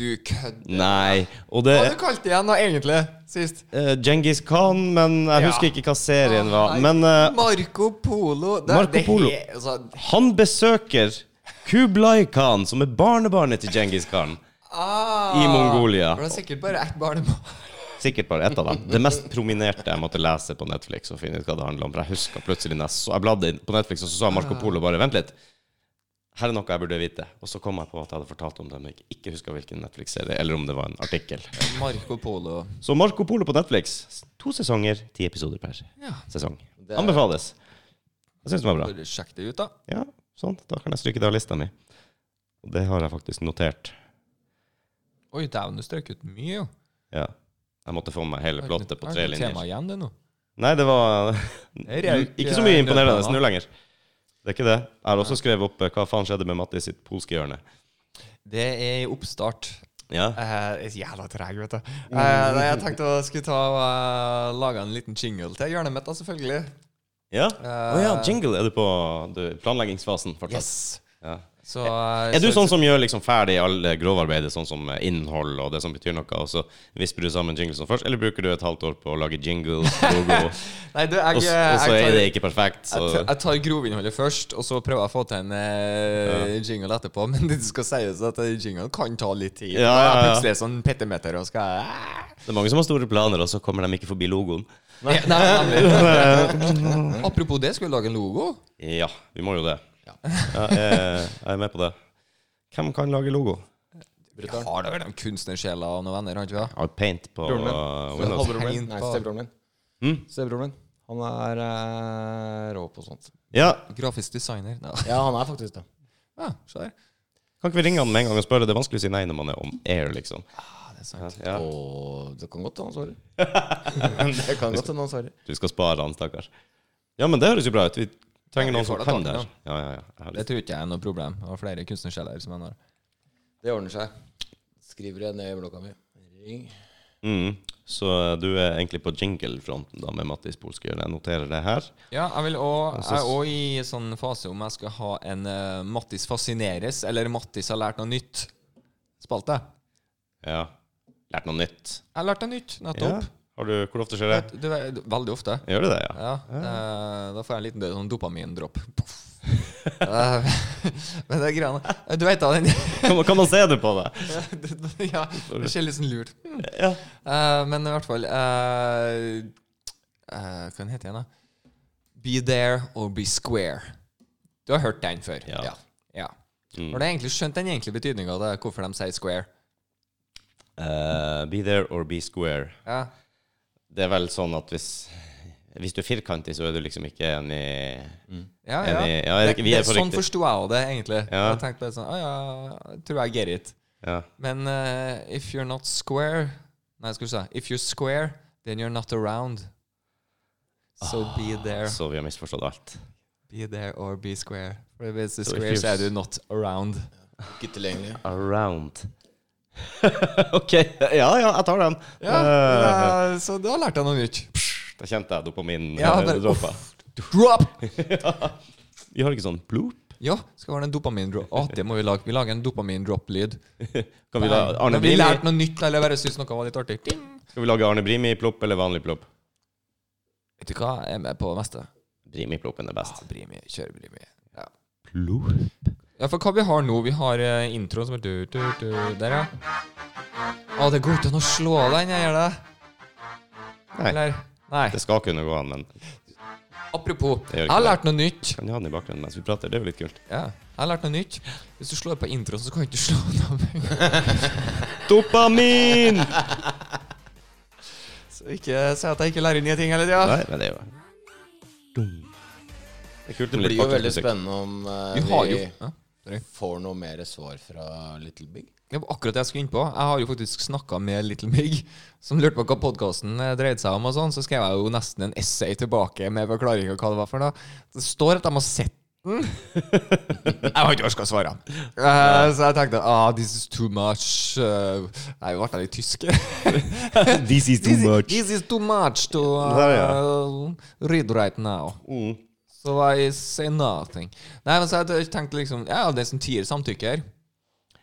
S4: Du kødder.
S3: Nei. Og
S4: Hva hadde
S3: det
S4: du kalt det igjen, da, egentlig? Sist.
S3: er eh, Djengis Khan, men jeg
S4: Ja.
S3: husker ikke hva serien var.
S4: Nei,
S3: Men eh,
S4: Marco Polo. Det,
S3: Marco
S4: det er-
S3: Polo.
S4: altså,
S3: Han besøker Kublai Khan, som er barnebarnet til Djengis Khan
S4: Ah,
S3: i Mongolia.
S4: Var det sikkert bare ett barnebarn?
S3: Sikkert bare ett av dem. Det mest prominerte jeg måtte lese på Netflix. og finne ut hva det handlet om, for Jeg husker plutselig når jeg så, jeg bladde inn på Netflix, og så sa Marco Polo bare 'vent litt'. Her er noe jeg burde vite. Og så kom jeg på at jeg hadde fortalt om det, men jeg ikke husker hvilken Netflix-serie, eller om det var en artikkel.
S4: Marco Polo.
S3: Så Marco Polo på Netflix. To sesonger, ti episoder per
S4: Ja.
S3: sesong.
S1: Det er-
S3: Anbefales. Jeg syns det var bra.
S4: Bare sjekk det ut, da.
S3: Ja, sånn. Da kan jeg stryke det av lista mi. Og det har jeg faktisk notert.
S4: Oi, dæven, du strøk ut mye, jo.
S3: Ja. Jeg måtte få med meg hele plottet på tre linjer.
S4: Tema igjen, det nå.
S3: Nei, det var
S4: Her er jo ikke-
S3: ikke så mye imponerende
S4: Rødmann, da.
S3: nå lenger. Det er ikke det. Jeg har også skrevet opp eh, hva faen skjedde med Mattis sitt polske hjørne.
S4: Det er i oppstart.
S3: Ja.
S4: Eh, Jeg er jævla treg, vet du.
S3: Mm.
S4: Eh, nei, jeg tenkte å skulle ta og eh, lage en liten jingle til hjørnet mitt, da, selvfølgelig.
S3: Ja.
S4: Eh,
S3: Å ja, jingle. Er du på du, planleggingsfasen fortsatt?
S4: Yes.
S3: Ja.
S4: Så, eh,
S3: Er du
S4: så-
S3: sånn som gjør liksom ferdig alle grovarbeidet, sånn som eh, innhold og det som betyr noe, og så visper du sammen jinglesen først, eller bruker du et halvt år på å lage jingles, logo, og,
S4: Nei, du, jeg, eh,
S3: s- og så
S4: jeg
S3: er
S4: tar-
S3: det ikke perfekt, så
S4: Jeg, tar- jeg tar grovinnholdet først, og så prøver jeg å få til en eh, jingle etterpå. Men det skal sies at eh, jinglen kan ta litt tid.
S3: Ja, ja, ja.
S4: Jeg Plutselig er det sånn petimeter, og skal jeg
S3: Det er mange som har store planer, og så kommer de ikke forbi logoen.
S4: Nei, nemlig. Apropos det, skal vi lage en logo?
S3: Ja, vi må jo det. Ja, jeg, jeg er med på det. Hvem kan lage logo?
S4: Vi har da vel noen kunstnersjeler og noen venner, har ikke vi?
S3: Ja, paint på uh,
S1: Broren min. Hmm? Så
S3: Windows.
S1: halvbroren min.
S4: Tegn
S1: Nei,
S4: på-
S1: stebroren min.
S3: Mm.
S1: Stebroren min. Han er eh, rå på sånt.
S3: Ja,
S4: da? Grafisk designer. Nei.
S1: Ja, han er faktisk det.
S4: Ja, se der.
S3: kan ikke vi ringe han med en gang og spørre? Det er vanskelig å si nei når man er on air, liksom.
S4: Ja, Ah, det er sant.
S3: Ja.
S1: Og det kan godt hende han svarer. det kan godt hende han svarer.
S3: Du skal spare han, stakkar. Ja, men det høres jo bra ut. Vi trenger
S4: Ja, vi
S3: noen som
S4: får da
S3: kan
S4: tak i
S3: det her.
S4: noen.
S3: Ja, ja, ja. Jeg har
S4: Det
S3: lyst-
S4: tror ikke jeg er noe problem. Jeg har flere kunstnersjeler som jeg har.
S1: Det ordner seg. Skriver det ned i blokka mi. Ring.
S3: Mm. Så uh, du er egentlig på jingle-fronten da med Mattis Polskjør. Jeg noterer det her.
S4: Ja, jeg, vil også, jeg er òg i sånn fase om jeg skal ha en eh, Mattis fascineres eller Mattis har lært noe nytt. Spalte.
S3: Ja. Lært noe nytt.
S4: Jeg har lært noe nytt
S3: Ja.
S4: nettopp.
S3: Har du, hvor ofte skjer det?
S4: Du, vet- veldig ofte.
S3: Gjør du det, ja?
S4: Ja, eh, da får jeg en liten sånn dopamindropp. Eh, Men det er greia Du veit da, den
S3: Kan, man- kan man se det på deg?
S4: Ja, det ser litt sånn lurt Hmm.
S3: Ja.
S4: Eh, Men i hvert fall eh, eh, Hva den heter den, da? Be there or be square. Du har hørt den før?
S3: Ja.
S4: ja. ja.
S3: Mm.
S4: Har du egentlig skjønt den egentlige betydninga av det, hvorfor de sier square?
S3: Eh, be there or be square.
S4: Ja.
S3: Det er vel sånn at hvis, hvis du er firkantig, så er du liksom ikke enig
S4: Ja, ja.
S3: Enig. Ja, er det ikke- vi er på
S4: sånn
S3: riktig.
S4: forsto jeg også det, egentlig.
S3: Ja.
S4: Jeg tenkte bare sånn, «Å ja, jeg tror jeg get it.
S3: Ja.
S4: Men eh, if you're not square Nei, skal du si If you're square, then you're not around. So be there.
S3: Så vi har misforstått alt.
S4: Be there or be square. For hvis du er
S3: So if
S4: square, så
S3: you're
S4: er du not around.
S1: Ikke tilgjengelig.
S3: Around. ok. Ja, ja, jeg tar den.
S4: Ja,
S3: Eh,
S4: eh, Så da lærte jeg noe nytt.
S3: Da kjente jeg dopamin
S4: Ja,
S3: eh,
S4: bare-
S3: droppa.
S4: Drop!
S3: Vi har ikke sånn bloop?
S4: Ja, skal være en dopamindrop. Å, det må vi lage. Vi lager en dopamindrop-lyd.
S3: Kan vi, la,
S4: Da
S3: Arne Brimi,
S4: vi lærte noe nytt, eller bare syntes noe var litt artig. Ding.
S3: skal vi lage Arne Brimi-plopp eller vanlig plopp?
S4: Vet du hva, jeg er med på det meste.
S3: Brimi-ploppen er
S4: Ja,
S3: best.
S4: Brimi. Kjør Brimi. Ja.
S3: Plopp?
S4: Ja, for hva vi har nå? Vi har eh, introen som er du, du, du, Der, ja. Å, det går ikke an å slå av den, jeg gjør det.
S3: Nei.
S4: Eller? Nei.
S3: Det skal kunne gå an, men
S4: Apropos,
S3: gjør ikke
S4: jeg har
S3: det.
S4: lært noe nytt.
S3: kan jo ha den i bakgrunnen mens vi prater. Det er jo litt kult.
S4: Ja, jeg har lært noe nytt. Hvis du slår på introen, så kan du ikke slå den av. med en gang.
S3: Dopamin!
S4: Så ikke si at jeg ikke lærer nye ting hele tida.
S3: Nei, men det er jo Dum. Det er kult
S1: Det
S3: med
S1: blir
S3: litt
S1: jo veldig
S3: bakgrunnsmusikk.
S1: spennende om eh,
S4: Vi har jo
S1: vi
S4: ja, sorry.
S1: får noe mer svar fra Little Big.
S4: Det var akkurat det jeg skulle inn på. Jeg har jo faktisk snakka med Little Mig, som lurte på hva podkasten dreide seg om, og sånn. Så skrev jeg jo nesten en essay tilbake med forklaring av hva det var for noe. Det står at de har sett den. jeg har ikke orka å svare. Eh, så jeg tenkte ah, this is too much. Uh, nei, ble jeg litt tysk?
S3: This is
S4: this, is- this is too much to
S3: Der,
S4: uh, read right now.
S3: Mm.
S4: So I say nothing. Nei, men så jeg tenkte liksom Ja, det er som tier samtykker.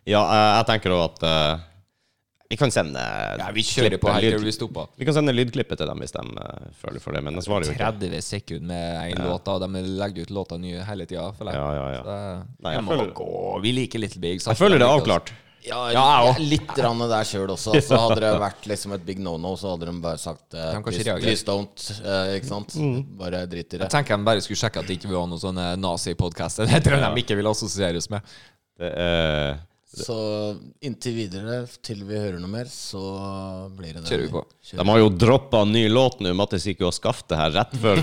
S3: Ja, eh, jeg tenker òg at eh, Vi kan sende
S4: Ja, vi kjører på
S3: klippet,
S4: her
S3: lyd-
S4: til vi stopper.
S3: Vi kan sende lydklippet til dem hvis de eh, føler for det, men de svarer jo ikke.
S4: 30 sekunder med én låt, og de legger ut låter nye hele tida. føler jeg.
S3: Ja, ja, ja.
S4: Så, eh,
S3: Nei,
S4: jeg,
S3: jeg
S4: må
S3: føler-
S4: gå. Vi liker Little Big.
S3: Jeg føler det er avklart.
S1: Ja,
S4: Ja, jeg
S1: jeg er litt rann der sjøl også. Så hadde det vært liksom et big no-no, så hadde de bare sagt eh,
S4: Kan kanskje
S1: please,
S4: reagere.
S1: please don't. eh, ikke sant? Bare drit i det.
S4: Jeg tenker de bare skulle sjekke at det ikke var noen sånne nazipodkaster. Det tror jeg de ikke vil assosieres med.
S3: Det eh, er
S1: Så inntil videre, til vi hører noe mer, så blir det det.
S4: Kjører vi på.
S3: De har jo droppa en ny låt nå. Mattis gikk jo og skaffet det her rett før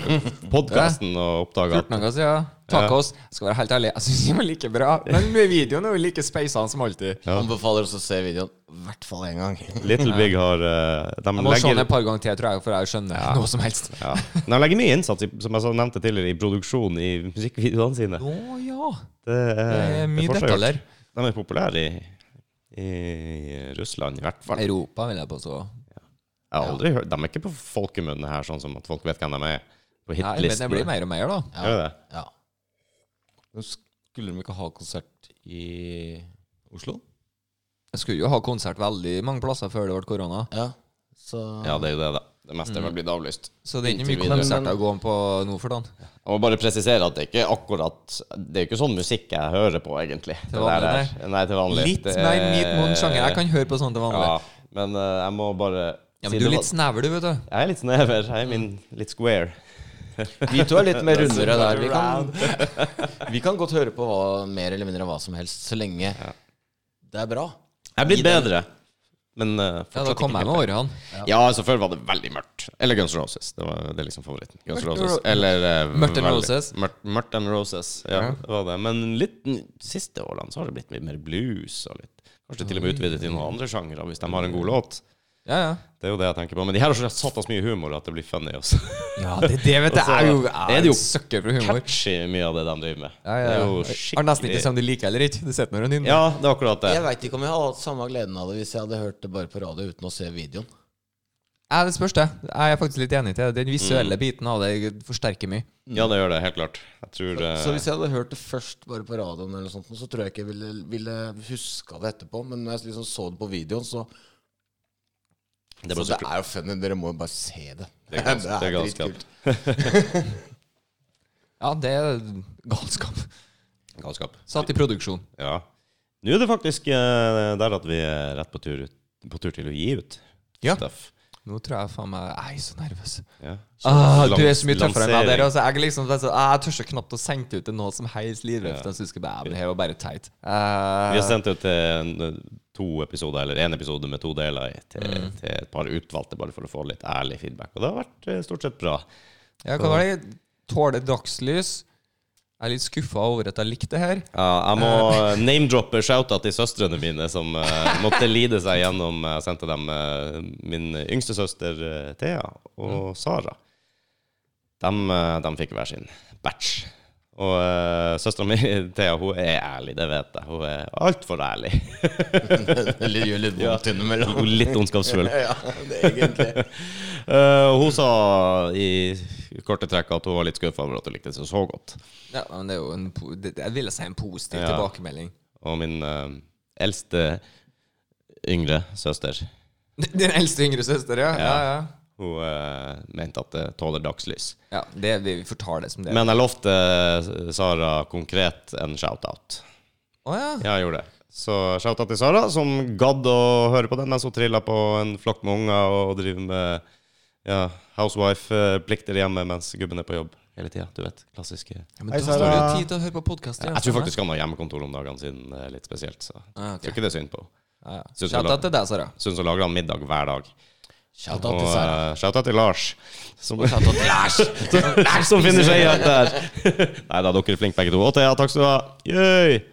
S3: podkasten og oppdaga
S4: 14 dager siden. Tacos. Jeg skal være helt ærlig, jeg syns de var like bra. Men med videoen er jo like speisende som alltid.
S3: Ja.
S1: Anbefaler oss å se videoen i hvert fall én gang.
S3: Little Big har eh, de,
S4: Jeg må se den
S3: legger,
S4: et par ganger til, tror jeg, for jeg skjønner noe som helst.
S3: ja. de legger mye innsats, i, som jeg så nevnte tidligere, i produksjon i musikkvideoene sine.
S4: Å ja.
S3: Det er,
S4: Det er mye
S3: forseggjort.
S4: detaljer.
S3: De er populære i, i Russland, i hvert fall.
S4: Europa, vil jeg påstå.
S3: Jeg har aldri hørt, De er ikke på folkemunne her, sånn som at folk vet hvem de er. På
S4: Nei, men det
S3: hitlistene.
S4: blir mer og mer, da.
S3: Gjør det det?
S1: Ja. Men Skulle de ikke ha konsert i Oslo?
S4: Jeg skulle jo ha konsert veldig mange plasser før det ble korona.
S1: Ja. Så
S3: Ja, det er jo det, da. Det meste er vel blitt avlyst.
S4: Så det er ikke
S1: Inntil
S4: mye
S1: videre.
S4: konserter å gå på nå for dagen.
S3: Jeg må bare presisere at det er ikke akkurat Det er jo ikke sånn musikk jeg hører på, egentlig.
S4: Til vanlig,
S3: Det der er- Nei, til vanlig.
S4: Litt
S3: Det
S4: mer
S3: er-
S4: meet moon sjanger. Jeg kan høre på sånt til vanlig.
S3: Ja, men eh, jeg må bare
S4: Ja,
S3: si
S4: men du
S3: det
S4: er litt
S3: var-
S4: snever, du, vet du.
S3: Jeg er litt snever. Jeg er min litt square.
S1: vi to er litt mer rundere der. Vi
S3: Round.
S1: kan, vi kan godt høre på hva, mer eller mindre hva som helst, så lenge det er bra.
S3: Jeg er blitt bedre, men eh,
S4: Ja, da
S3: fortsatt
S4: kom
S3: ikke
S4: jeg med
S3: helt.
S4: årene.
S3: Ja, altså Før var det veldig mørkt. Eller Guns N' Roses. Det var det er liksom favoritten. Guns N'
S4: Mørkt-
S3: Roses. Eller eh,
S4: Mørkt and
S3: veldig-
S4: Roses.
S3: Mørkt, mørkt and Roses, ja,
S4: Ja.
S3: det var det. Men litt n- siste årene så har det blitt litt mer blues og litt Kanskje til og med utvidet til noen andre sjangere, hvis de har en god låt.
S4: Ja, ja.
S3: Det er jo det jeg tenker på. Men de her har så satt oss mye humor at det blir funny også.
S4: Ja, det, det vet jeg.
S3: Altså,
S4: Jeg er jo
S3: det er
S4: jeg
S3: det
S4: er
S3: jo.
S4: en søkker for humor.
S3: Catchy mye av det de driver med.
S4: Ja,
S3: Det
S4: ja, ja.
S3: er jo
S4: Jeg Har nesten ikke
S3: skikkelig
S4: sagt om de liker eller ikke. Du sitter når du nynner.
S3: Ja, det er akkurat det.
S1: Jeg veit ikke om jeg hadde hatt samme gleden av det hvis jeg hadde hørt det bare på radio uten å se videoen.
S4: Ja, det spørs, det. Jeg er faktisk litt enig til det. Den visuelle biten av det forsterker mye.
S3: Ja, det gjør det, helt klart. Jeg tror eh,
S1: Så hvis jeg hadde hørt det først bare på radioen, eller noe sånt, så tror jeg ikke jeg ville, ville huska det etterpå. Men når jeg liksom så det på videoen, så
S3: det, ble
S1: Så
S3: så
S1: det
S3: kult.
S1: er jo funny. Dere må jo bare se det.
S3: Det er gans- det er galskap.
S1: dritkult.
S4: Ja, det er galskap.
S3: Galskap.
S4: Satt i produksjon.
S3: Ja. Nå er det faktisk eh, der at vi er rett på tur, ut, på tur til å gi ut
S4: Ja.
S3: stuff.
S4: Nå tror jeg faen meg Jeg er så nervøs.
S3: Ja.
S4: Ah, du er
S3: Lans-
S4: så mye tøffere enn meg der.
S3: lansering.
S4: Altså, jeg liksom, altså, jeg tør så knapt å sende ut til noe som helst livrøft. Jeg synes ikke bare, ja, men det her var bare teit.
S3: Vi har
S4: Eh,
S3: sendt ut eh, en, to episoder, eller én episode med to deler i, til,
S4: Mm.
S3: til et par utvalgte, bare for å få litt ærlig feedback. Og det har vært eh, stort sett bra.
S4: ja, hva var det? Tåler dagslys. Jeg er litt skuffa over at jeg likte det her.
S3: Ja, jeg må eh, name-droppe shouta til søstrene mine, som eh, måtte lide seg gjennom Jeg sendte dem eh, min yngste søster eh, Thea og Sara. De, fikk hver sin batch. Og uh, søstera mi, Thea, hun er ærlig, det vet jeg. Hun er altfor ærlig.
S1: Eller gjør litt vondt innimellom.
S3: Hun er litt ondskapsfull.
S1: Ja, det er egentlig
S3: Eh, hun sa i korte trekk at hun var litt skuffa over at hun likte det så godt.
S4: Ja, men det er jo en, po- det, Jeg ville si en positiv
S3: Ja.
S4: tilbakemelding.
S3: Og min eh, eldste yngre søster
S4: Din eldste yngre søster, ja? Ja, ja.
S3: Hun eh, mente at det tåler dagslys.
S4: ja det, vi vi får ta det som det er.
S3: Men jeg lovte eh, Sara konkret en shout-out.
S4: Å ja.
S3: Ja, jeg gjorde det. Så shout-out til Sara, som gadd å høre på den mens hun trilla på en flokk med unger og driver med ja, housewife-plikter hjemme mens gubben er på jobb hele tida. Du vet, klassiske
S4: ja men
S3: Hei,
S4: da har du jo
S3: Sara.
S4: tid til å høre på podkaster.
S3: Jeg tror faktisk han har hjemmekontor om dagene siden eh, litt spesielt, så jeg
S4: ah,
S3: tror
S4: okay.
S3: ikke det er synd på henne.
S4: ja, ja.
S3: Synes
S4: Shout
S3: jeg la-
S4: out til deg, Sara.
S3: Syns hun lager han middag hver dag.
S1: Shout
S3: Og
S1: out til Sara.
S3: eh, shout-out til Lars, som,
S1: Shout out til Lars.
S3: som finner seg i alt det her. Nei da, dere er flinke begge to. Og Thea, takk skal du ha. Yay!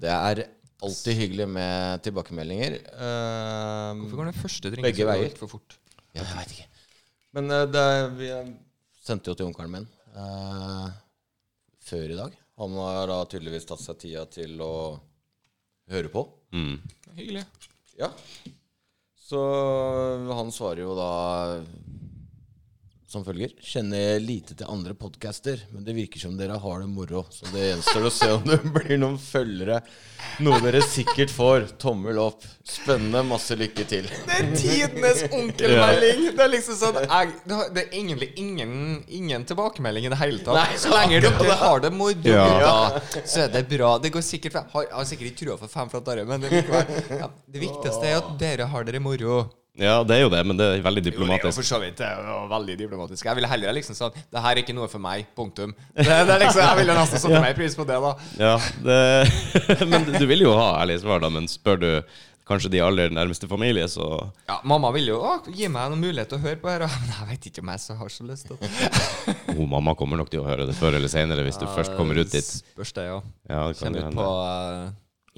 S1: Det er alltid hyggelig med tilbakemeldinger. Ehm,
S4: Hvorfor går den første drinken
S1: Begge
S4: så
S1: veier.
S4: litt for fort?
S1: ja, jeg vet ikke. Men eh, det er, vi eh, sendte jo til onkelen min eh, før i dag. Han har da tydeligvis tatt seg tida til å høre på.
S3: Mm.
S4: Hyggelig.
S1: Ja. Så han svarer jo da som følger. Kjenner lite til andre podcaster, men det virker som dere har det moro. Så det gjenstår å se om det blir noen følgere. Noe dere sikkert får. Tommel opp. Spennende. Masse lykke til.
S4: Det er tidenes onkelmelding! Det er liksom sånn jeg, Det har- det er egentlig ingen, ingen tilbakemelding i det hele tatt.
S1: Nei,
S4: så lenge dere har det moro,
S3: Ja.
S4: gutta, så er det bra. Det går sikkert fra- har, Jeg har sikkert ikke trua for fem fra dere, men det, likevel, ja, det viktigste er at dere har dere moro.
S3: Ja, det er jo det, men det er veldig
S4: Jo, det er jo
S3: diplomatisk.
S4: for så vidt det er jo veldig diplomatisk. Jeg ville heller liksom sånn Det her er ikke noe for meg. Punktum. Det, det er liksom, jeg ville nesten satt mer pris på det, da.
S3: Ja, det, men du vil jo ha ærlige svar, da. Men spør du kanskje de aller nærmeste familie, så
S4: Ja, Mamma ville jo å, gi meg noen mulighet til å høre på her, og- men jeg vet ikke om jeg så har så lyst til det.
S3: Jo, Oh, mamma kommer nok til å høre det før eller senere, hvis du først kommer ut dit.
S4: Spørs det, ja.
S3: Ja, det kan jo
S4: Kommer ut
S3: hende.
S4: på eh,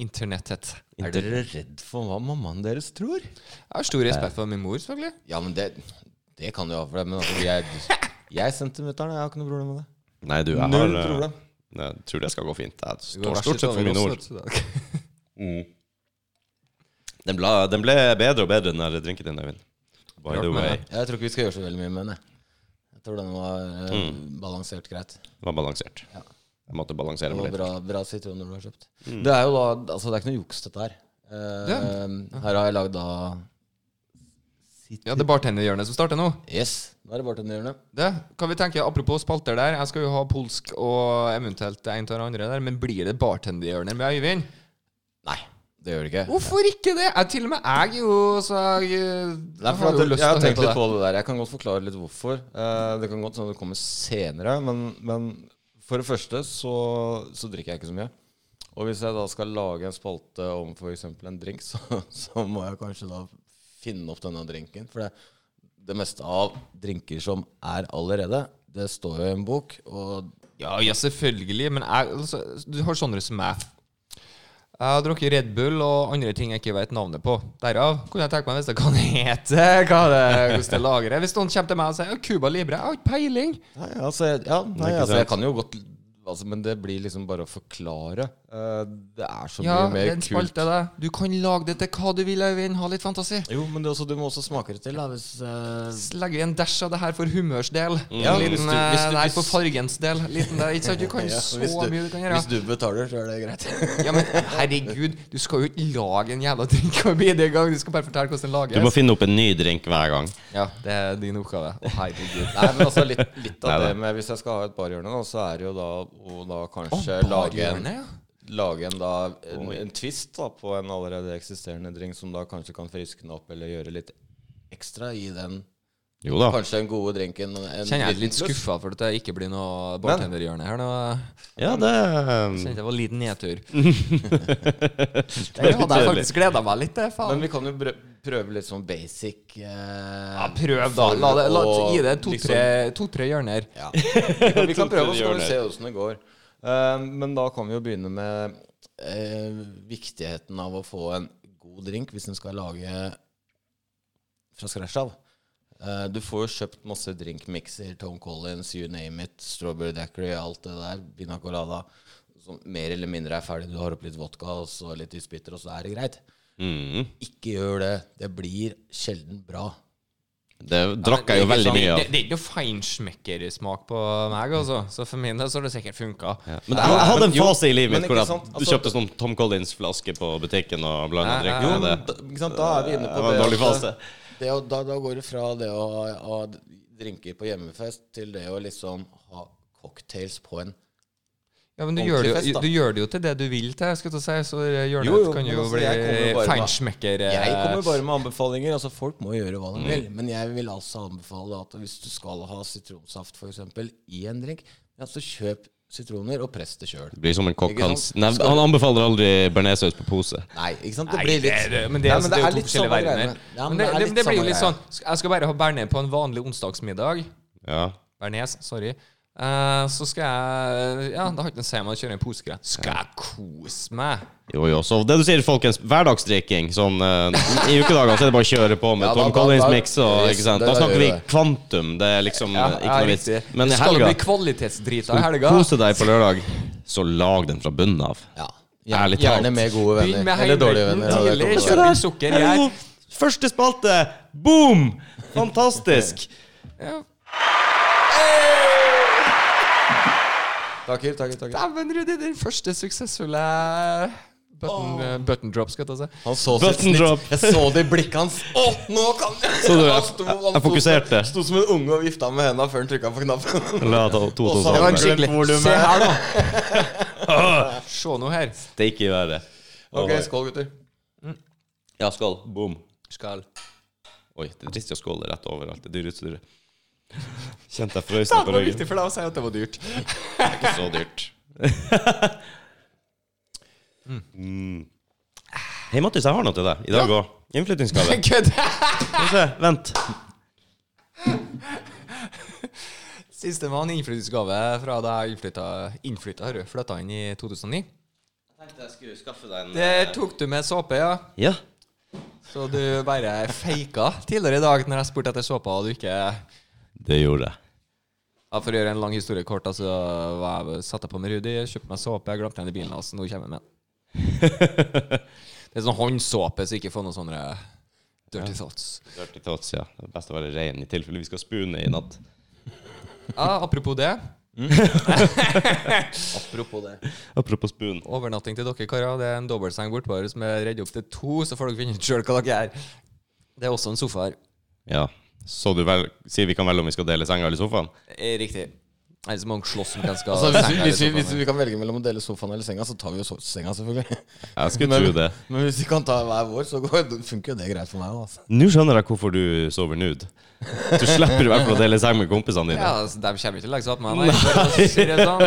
S4: internettet.
S1: Er dere redd for hva mammaen deres tror?
S4: Jeg har stor respekt for min mor, selvfølgelig.
S1: Ja, men det, det kan jo ha for deg. Men altså, jeg, jeg er centimeteren. Jeg har ikke noe problem med det.
S3: Nei, du, jeg har
S1: Null
S3: eh,
S1: problem.
S3: Jeg tror det skal gå fint. Jeg står stort sett for mine ord. Mm. Den, ble, den ble bedre og bedre, den der drinken din, Øyvind. By
S4: Rart
S3: the
S4: med
S3: way.
S4: det.
S1: Jeg tror ikke vi skal gjøre så veldig mye med den. jeg. Jeg tror den var eh,
S3: Mm.
S1: balansert greit.
S3: Den var balansert. Jeg måtte balansere
S1: Det
S3: meg
S1: var
S3: litt.
S1: bra, bra sitroner du har kjøpt. Det er jo da Altså, det er ikke noe juks, dette her. Eh, her har jeg lagd da
S4: Ja, det er bartenderhjørnet som starter nå.
S1: Yes. Da er det bartenderhjørnet.
S4: Det kan vi tenke, Apropos spalter der. Jeg skal jo ha polsk og eventuelt en av de andre der, men blir det bartenderhjørnet med Øyvind?
S1: Nei, det gjør det ikke.
S4: Hvorfor ikke det? Jeg, til og med jeg jo så jeg,
S1: Det er
S4: jeg
S1: for
S4: har
S1: at
S4: jo
S1: jeg,
S4: lyst
S1: har
S4: til å høre
S1: tenkt
S4: på
S1: litt
S4: det.
S1: på det der. Jeg kan godt forklare litt hvorfor. Eh, det kan godt hende det kommer senere, men, men for det første så, så drikker jeg ikke så mye. Og hvis jeg da skal lage en spalte om f.eks. en drink, så, så må jeg kanskje da finne opp denne drinken. For det, det meste av drinker som er allerede, det står jo i en bok. Og
S4: Ja, ja, selvfølgelig, men jeg, altså, du har sånne som meg. Jeg har drukket Red Bull og andre ting jeg ikke vet navnet på. Derav kunne jeg tenke meg å vite hva det heter, hva det, hvordan det lagrer. Hvis noen kommer til meg og sier «Ja, Cuba Libre, jeg har ikke peiling.
S1: Nei, altså, jeg- ja, nei,
S3: ikke
S1: altså
S3: sant.
S1: jeg kan jo godt altså, Men det blir liksom bare å forklare. Eh, det er så
S4: Ja,
S1: mye
S4: det er
S1: mer
S4: en
S1: kult.
S4: spalte, det. Du kan lage det til hva du vil, Øyvind. Ha litt fantasi.
S1: Jo, men det er også, du må også smake det til. Da, hvis, eh,
S4: Så legger vi en dash av det her for humørs del.
S1: Ja,
S4: liten,
S1: hvis du-
S4: eh,
S1: hvis du-
S4: nei,
S1: hvis-
S4: for fargens del. Liten der, ikke sant? Du kan
S1: Ja,
S4: så
S1: hvis du-
S4: mye du kan gjøre.
S1: Hvis du betaler, så er det greit.
S4: Ja, men herregud, du skal jo ikke lage en jævla drink og bli det i gang. Du skal bare fortelle hvordan den lages.
S3: Du må finne opp en ny drink hver gang.
S4: Ja, det er din oppgave. Å, herregud.
S1: Nei, men altså litt, litt av
S3: Nei,
S1: det med Hvis jeg skal ha et barhjørne, da, så er det jo da å da kanskje
S4: Å,
S1: lage,
S4: barhjørne, ja.
S1: en, lage en, da, en, en twist da, på en allerede eksisterende drink som da kanskje kan friske den opp, eller gjøre litt ekstra i den
S3: Jo da.
S1: kanskje den gode drinken. En
S4: Ah. Kjenner jeg er
S1: liten
S4: litt
S1: pluss.
S4: skuffa for at det ikke blir noe bartenderhjørne her nå.
S3: Ja, det um,
S4: Kjente det var en liten nedtur. Det hadde jeg faktisk gleda meg litt til,
S1: Men
S4: faen.
S1: vi kan jo brø- prøve litt sånn basic eh,
S4: Ja, prøv, da. La det, la,
S1: og
S4: gi det
S1: liksom-
S4: to-tre to, tre hjørner.
S1: Ja. Vi kan, vi kan prøve, og så
S3: Gjør
S1: kan vi
S3: det.
S1: se åssen det går. Eh, men da kan vi jo begynne med eh, viktigheten av å få en god drink hvis en skal lage fra scratch av. Eh, du får jo kjøpt masse drinkmikser, Tom Collins, you name it, Strawberry Dackery, alt det der, Bina Colada, som mer eller mindre er ferdig. Du har oppi litt vodka og så litt isbiter, og så er det greit.
S3: mm,
S1: Ikke gjør det. Det blir sjelden bra.
S3: Det drakk jeg jo
S1: sånn-
S3: veldig mye
S4: Det,
S3: av.
S4: det er ikke noe feinschmeckersmak på meg, altså. Så for min del så har det sikkert funka.
S3: Men jeg, jeg hadde en fase i livet
S1: men
S3: mitt
S1: ikke
S3: hvor
S1: sant,
S3: jeg
S1: altså-
S3: kjøpte sånn Tom Collins-flaske på butikken og blanda
S4: Ja, ja,
S3: drikk
S4: ja.
S3: med det.
S1: Da, ikke sant? da er vi inne
S3: Det
S1: på
S3: var en
S1: det
S3: dårlig
S1: at- eh,
S3: fase.
S1: Det å, da, da går det fra det å ha- ha drinker på hjemmefest til det å liksom ha cocktails på en
S4: Ja, men du gjør,
S1: Ordentlig
S4: det jo,
S1: fest, da.
S4: du gjør det jo til det du vil til, skal jeg til å si. Så det hjørnet
S1: Jo, jo,
S4: kan
S1: men
S4: jo
S1: altså,
S4: bli
S1: jeg kommer jo bare med-
S4: feinschmecker. eh,
S1: Jeg kommer bare med anbefalinger. Altså Folk må gjøre hva de vil. Men jeg vil altså anbefale at hvis du skal ha sitronsaft for eksempel, i en drink, ja, så kjøp sitroner og press det sjøl.
S3: Det blir som en kokk.
S1: Ikke sant?
S3: Hans Nei, Han anbefaler aldri bearnéssaus på pose.
S1: Nei, ikke sant?
S4: Nei,
S1: Det blir litt
S4: det- men det,
S1: Nei,
S4: altså, det, er jo to
S1: samme
S4: forskjellige verdener.
S1: greiene. Ja,
S4: men det, det, det, blir jo
S1: samme
S4: litt
S1: greie.
S4: sånn sk- Jeg skal bare ha bearnés på en vanlig onsdagsmiddag.
S3: Ja.
S4: Bearnés, sorry. Eh, så skal jeg Ja, da har ikke noe å si om jeg kjører en påskegrøt. Skal jeg kose meg?
S3: Jo, jo, så det du sier, folkens. Hverdagsdrikking. Sånn, eh, I ukedagene så er det bare å kjøre på med
S1: Ja, da-
S3: Tom
S1: da-
S3: Collins-miks.
S1: da-
S3: og-
S1: yes,
S3: ikke sant?
S1: det
S3: Da
S1: da
S3: snakker
S1: gjør
S3: vi
S1: det.
S3: kvantum. Det er liksom eh, ikke noe vits.
S4: riktig.
S3: Men i
S4: det skal jo
S3: helga
S4: bli kvalitetsdrita i
S3: skal du
S4: helga.
S3: kose deg på lørdag, så lag den fra bunnen av.
S1: Ja.
S3: Ærlig
S1: Gjerne,
S3: talt.
S1: gjerne med gode
S4: Begynn
S1: venner.
S4: med
S1: Eller dårlige
S4: heimretten
S1: venner. Ja, det kommer
S4: tidlig, kjør
S1: til å være.
S4: litt sukker her.
S3: Første spalte! Boom! Fantastisk!
S4: Ja.
S1: Takker, takker, takker.
S4: Dæven, Rudi! Den første suksessfulle button, button drop, skal jeg ta si.
S1: Han så sitt
S3: Button
S1: snitt.
S3: drop.
S1: Jeg så det i blikket hans. Å, nå kan jeg!
S3: Så du,
S1: Han
S3: jeg,
S1: sto-
S3: jeg,
S1: han sto-
S3: fokuserte.
S1: Sto som en unge og vifta med henda før han trykka på knappen.
S3: La ta to, to,
S1: Og så
S3: to,
S1: har han
S3: to.
S1: skikkelig
S4: Se her, da! Ah. Se nå her.
S3: Det er ikke verre.
S1: Ok, skål, gutter.
S3: Ja, skål. Boom.
S4: Skal.
S3: Oi, det er trist å skåle rett overalt. Det dyrer ut så dyrer. Kjente jeg frøs
S4: Det
S3: på
S4: var
S3: ryggen.
S4: viktig for deg å si at det var dyrt.
S3: Ikke så dyrt. Mm. Hei, Mattis, jeg har noe til deg i dag òg. Innflyttingsgave.
S4: Kødd!
S3: Skal vi se. Vent.
S4: Sistemann innflyttingsgave fra da jeg innflytta, innflytta har du, flytta inn i 2009.
S3: Tenkte jeg skulle skaffe deg
S4: Der tok du med såpe, ja.
S3: Ja.
S4: Så du bare feika tidligere i dag når jeg spurte etter såpa, og du ikke ja,
S3: Det gjorde jeg.
S4: For å gjøre en lang historie kort, altså, var jeg satte jeg på med Rudi, kjøpte meg såpe, jeg glemte den i bilen hans, nå kommer jeg med den. Det er sånn håndsåpe, så ikke få noen sånne dirty thoughts.
S3: Dirty thoughts, ja. Det er best å være ren i tilfelle vi skal spune i natt.
S4: Ja, apropos det.
S1: Mm. Apropos det.
S3: Apropos spun.
S4: Overnatting til dere karer. Det er en dobbeltseng bortpå her som er redd opp til to, så får dere finne ut sjøl hva dere er. Det er også en sofa her.
S3: Ja. Så du vel, sier vi kan velge om vi skal dele senga eller sofaen?
S4: Eh, Riktig. Eller så må dere slåss om hvem skal
S1: Altså, hvis, vi,
S4: senga
S1: hvis, vi,
S4: eller
S1: hvis
S4: sofaen.
S1: vi kan velge mellom å dele sofaen eller senga, så tar vi jo so- senga, selvfølgelig.
S3: Jeg skulle tro det.
S1: Men hvis vi kan ta hver vår, så går, funker jo det greit for meg. da, Altså.
S3: Nå skjønner jeg hvorfor du sover nude. Du slipper i hvert fall å dele seng med kompisene dine.
S4: Ja, altså, De kommer ikke til å legge seg opp med meg. for å si det sånn.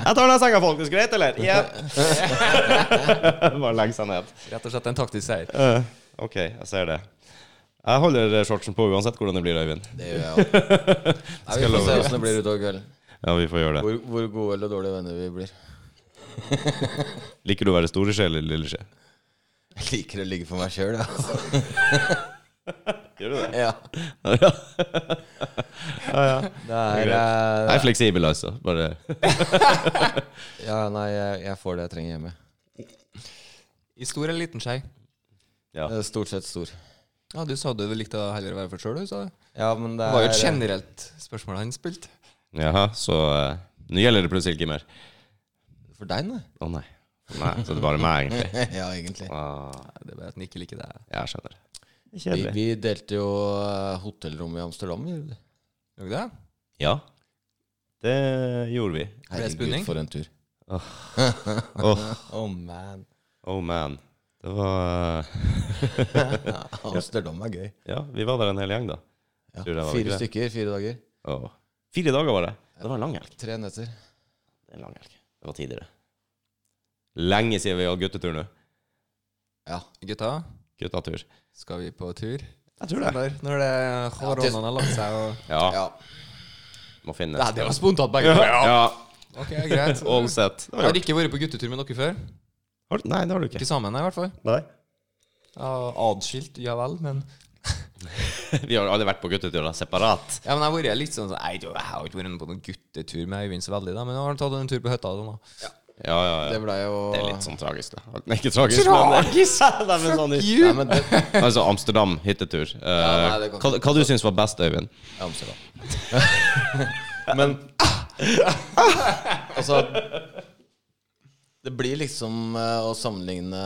S3: Jeg tar den senga, folkens. Greit, eller? Ja. Bare legg seg ned.
S4: Rett og slett en taktisk seier.
S3: Eh, OK, jeg ser det. Jeg holder shortsen på uansett hvordan det blir, Øyvind.
S1: Det gjør jeg òg. Vi får se åssen det blir utover kvelden.
S3: Ja, vi får gjøre det.
S1: Hvor, hvor gode eller dårlige venner vi blir.
S3: Liker du å være store skje eller lille skje?
S1: Jeg liker å ligge for meg sjøl, altså.
S3: Gjør du det?
S1: ja.
S3: Ja.
S1: Det er
S3: Jeg
S1: eh,
S3: er fleksibel, altså. Bare
S1: Ja, nei, jeg, jeg får det jeg trenger hjemme.
S4: I stor eller liten skei?
S3: Ja.
S1: Eh, Stort sett stor.
S4: Ja, Du sa du likte å heller være for sjøl, du. sa du.
S1: Ja, men det
S4: Det
S1: er
S4: var jo et generelt spørsmål han spilte.
S3: Jaha, så eh, nå gjelder det plutselig ikke mer.
S1: For deg, nei?
S3: Å nei. nei. Så det er bare meg, egentlig.
S1: ja, egentlig.
S3: Ah,
S4: Nei, Det er bare at han ikke liker det.
S3: jeg skjønner.
S1: Vi, vi delte jo eh, hotellrom i Amsterdam. vi gjorde det.
S4: Gjorde det?
S3: Ja, det gjorde vi.
S4: spunning?
S1: for en tur.
S3: Åh,
S1: Oh man.
S3: oh man. Det var eh,
S1: Amsterdam er gøy.
S3: Ja, vi var der en hel gjeng, da.
S1: Ja.
S3: Tror jeg var ikke
S1: Fire
S3: det.
S1: stykker, fire dager.
S3: Åh. Fire dager var det. Det var en lang helg.
S1: Tre netter.
S3: Det er en lang helg. Det var tidligere. Lenge siden vi hadde guttetur nå.
S1: Ja.
S4: Gutta,
S3: Guttatur.
S4: skal vi på tur?
S3: Jeg tror det.
S4: Når, når det koronaen har lagt seg og
S3: Ja,
S1: ja.
S3: må finne
S4: Nei,
S3: et
S4: det var
S3: sted.
S4: spontant, begge to.
S3: Ja, ja.
S4: Ok, greit.
S3: All set. Det var
S4: Jeg har
S3: gjort.
S4: ikke vært på guttetur med dere før.
S3: Har du- Nei, det har du ikke.
S4: Ikke sammen, nei, i hvert fall.
S3: Nei.
S4: Ja, Adskilt, ja vel, men
S3: Vi har alle vært på gutteturer separat.
S4: Ja, men jeg har vært litt sånn sånn, Nei, du, jeg har jo ikke vært på noen guttetur med Øyvind så veldig, da, men jeg har tatt en tur på hytta. Da.
S3: Ja, ja, ja.
S1: Det blei jo
S3: Det er litt sånn tragisk, da. Nei, ikke tragisk, men
S4: Tragisk!
S3: Nei, men sånn i-
S1: Nei, men det
S3: Altså Amsterdam, hyttetur. Eh,
S1: nei, det kan
S3: hva, hva du syns var best, Øyvind?
S1: Ja, Amsterdam. Men Altså Det blir liksom eh, å sammenligne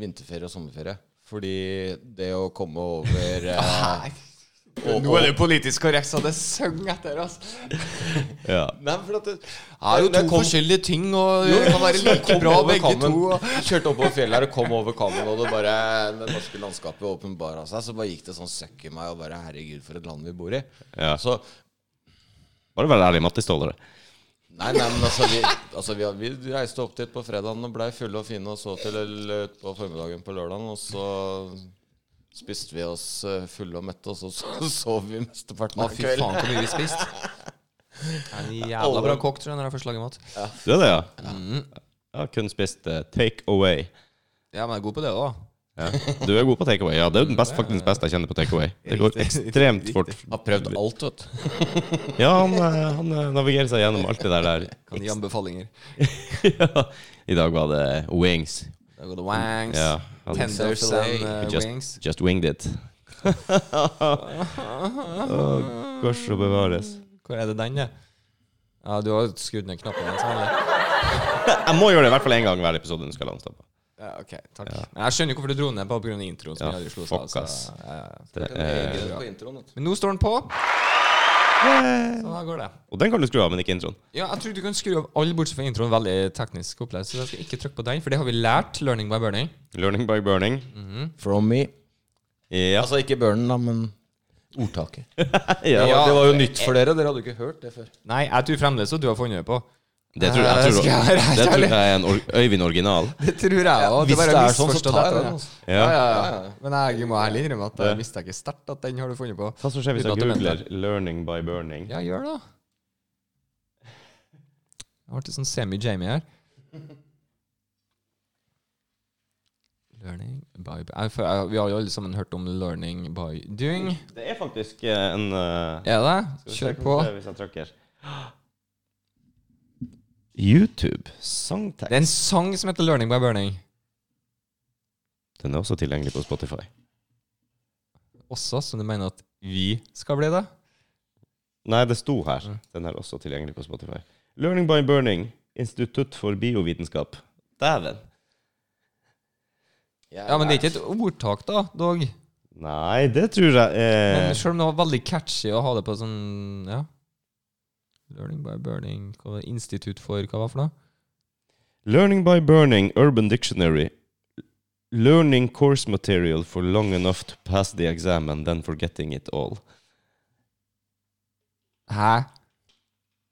S1: vinterferie og sommerferie. Fordi det å komme over eh, og-
S4: Nå er det jo politisk korrekt, så det synger etter, altså.
S3: Ja.
S1: Nei, for at det,
S4: Det er jo
S1: Når jeg
S4: to
S1: kom-
S4: forskjellige ting, og
S1: Jo,
S4: det kan være like
S1: kom
S4: bra
S1: over
S4: begge
S1: Kammen.
S4: to. og-
S1: Kjørte oppover fjellet her og kom over Kammen, og det bare det norske landskapet åpenbara seg. Så bare gikk det sånn søkk i meg, og bare herregud, for et land vi bor i.
S3: Ja.
S1: Så
S3: Bare vær ærlig, Mattis tåler det.
S1: Nei, nei, men altså vi, altså, vi, vi reiste opp dit på fredagen og blei fulle og fine og så til ut på formiddagen på lørdagen. Og så spiste vi oss eh, fulle og mette, og så, så sov vi mesteparten
S4: Å,
S1: av
S4: fy faen,
S1: kvelden.
S4: hvor mye vi spiste. En jævla bra kokk, tror jeg, når jeg først lager mat.
S3: Du er det, ja?
S1: Mm.
S3: Jeg har kun spist eh, take away.
S4: Ja, men jeg er god på det òg.
S3: Ja. Du er god på take away. Ja, det er jo den best, faktisk beste jeg kjenner på take away. Det går
S4: Riktig.
S3: ekstremt fort.
S1: Har prøvd alt, vet du.
S3: Ja, han, eh, han eh, navigerer seg gjennom alt det der. der.
S4: Kan gi anbefalinger.
S3: Ja. I dag var det wings.
S4: Da går det wangs,
S3: Ja. han-
S4: tenders
S1: Self-fillet.
S4: and eh,
S3: Just-
S4: wings.
S3: Just winged it. Å, Gors og bevares.
S4: Hvor er det den, ja? Ja, du har skrudd ned knappen igjen, sannelig.
S3: Jeg må gjøre det i hvert fall én gang hver episode. Den skal jeg la den stoppe.
S4: Ja, ok, takk. Men jeg skjønner jo hvorfor du dro ned, bare pga. introen. som
S3: Ja,
S4: jeg aldri slo
S3: fuck,
S4: så-
S3: ass.
S4: ja, ja.
S3: Det
S1: Den
S3: er,
S1: ligger på introen, vet du.
S4: Men nå står den på, så da går det.
S3: og den kan du skru av, men ikke introen.
S4: Ja, jeg tror du kan skru av alle bortsett fra introen. Veldig teknisk opplegg, så jeg skal ikke trykke på den, for det har vi lært. Learning by burning.
S3: Learning by burning.
S4: Mm.
S1: Eh, From me.
S3: Ja.
S1: Altså ikke burnen, da, men ordtaket. Eh,
S3: ja.
S4: Ja.
S1: Det var jo nytt for dere. Dere hadde jo ikke hørt det før.
S4: Nei, jeg tror fremdeles at du har funnet det på.
S3: Det tror jeg,
S4: Eh,
S3: jeg, tror,
S4: skal jeg være helt
S3: det tror
S4: ærlig?
S3: jeg er en or Øyvind original.
S4: Det tror jeg òg.
S1: Hvis det er sånn, så tar jeg den. Altså.
S4: Ja,
S3: Ja.
S4: ja, ja. Men jeg må ærlig innrømme at jeg mistenker sterkt at den har du funnet på.
S3: Hva som skjer hvis
S4: Uten
S3: jeg
S4: at du mente
S3: googler 'learning by burning'?
S4: Ja, gjør det, da. Jeg ble sånn semi-Jamie her. Learning by jeg, føler- jeg, Vi har jo alle sammen hørt om learning by doing.
S3: Det er faktisk eh, en eh,
S4: Er det?
S3: skal vi se
S4: Kjør
S3: hvordan
S4: på.
S3: det er Hvis jeg trykker. YouTube. Sangtekst.
S4: Det er en sang som heter Learning by burning.
S3: Den er også tilgjengelig på Spotify.
S4: Også, så du mener at vi skal bli det?
S3: Nei, det sto her. Den er også tilgjengelig på Spotify. 'Learning by burning'. Institutt for biovitenskap. Dæven.
S4: Ja, men det er ikke et ordtak, da, dog.
S3: Nei, det tror jeg eh,
S4: Men selv om det var veldig catchy å ha det på sånn Ja. Learning by burning hva var det? Institutt for Hva var det for noe?
S3: Learning by Burning Urban Dictionary. Learning course material for long enough to pass the exam and then forgetting it all.
S4: Hæ?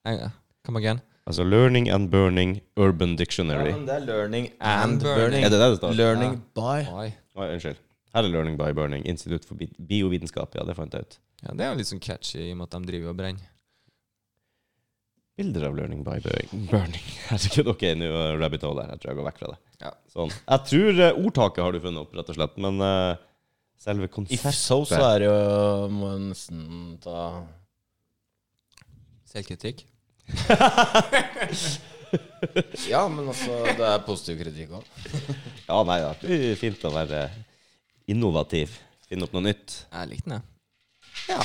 S4: Eh, Come again.
S3: Altså Learning and Burning Urban Dictionary.
S1: det er learning
S4: and burning.
S3: er det det det står?
S1: Learning by.
S4: Oi.
S3: Oi, unnskyld. Her er Learning by Burning. Institutt for bi- biovitenskap. Ja, det fant jeg ut.
S4: Ja, det er jo litt sånn catchy i og med at de driver og brenner.
S3: Bilder av Learning by Burning. burning. Herregud, ok, nå er rabbit hole her. Jeg tror jeg går vekk fra det.
S4: Ja.
S3: Sånn. Jeg tror eh, ordtaket har du funnet opp, rett og slett. Men eh, selve
S1: If
S3: konseptet
S1: so, så er det jo Må jeg nesten ta
S4: Selvkritikk.
S1: Ja, men altså, det er positiv kritikk òg.
S3: Ja, nei, det er fint å være eh, innovativ. Finne opp noe nytt.
S4: Jeg likte den, jeg.
S3: Ja.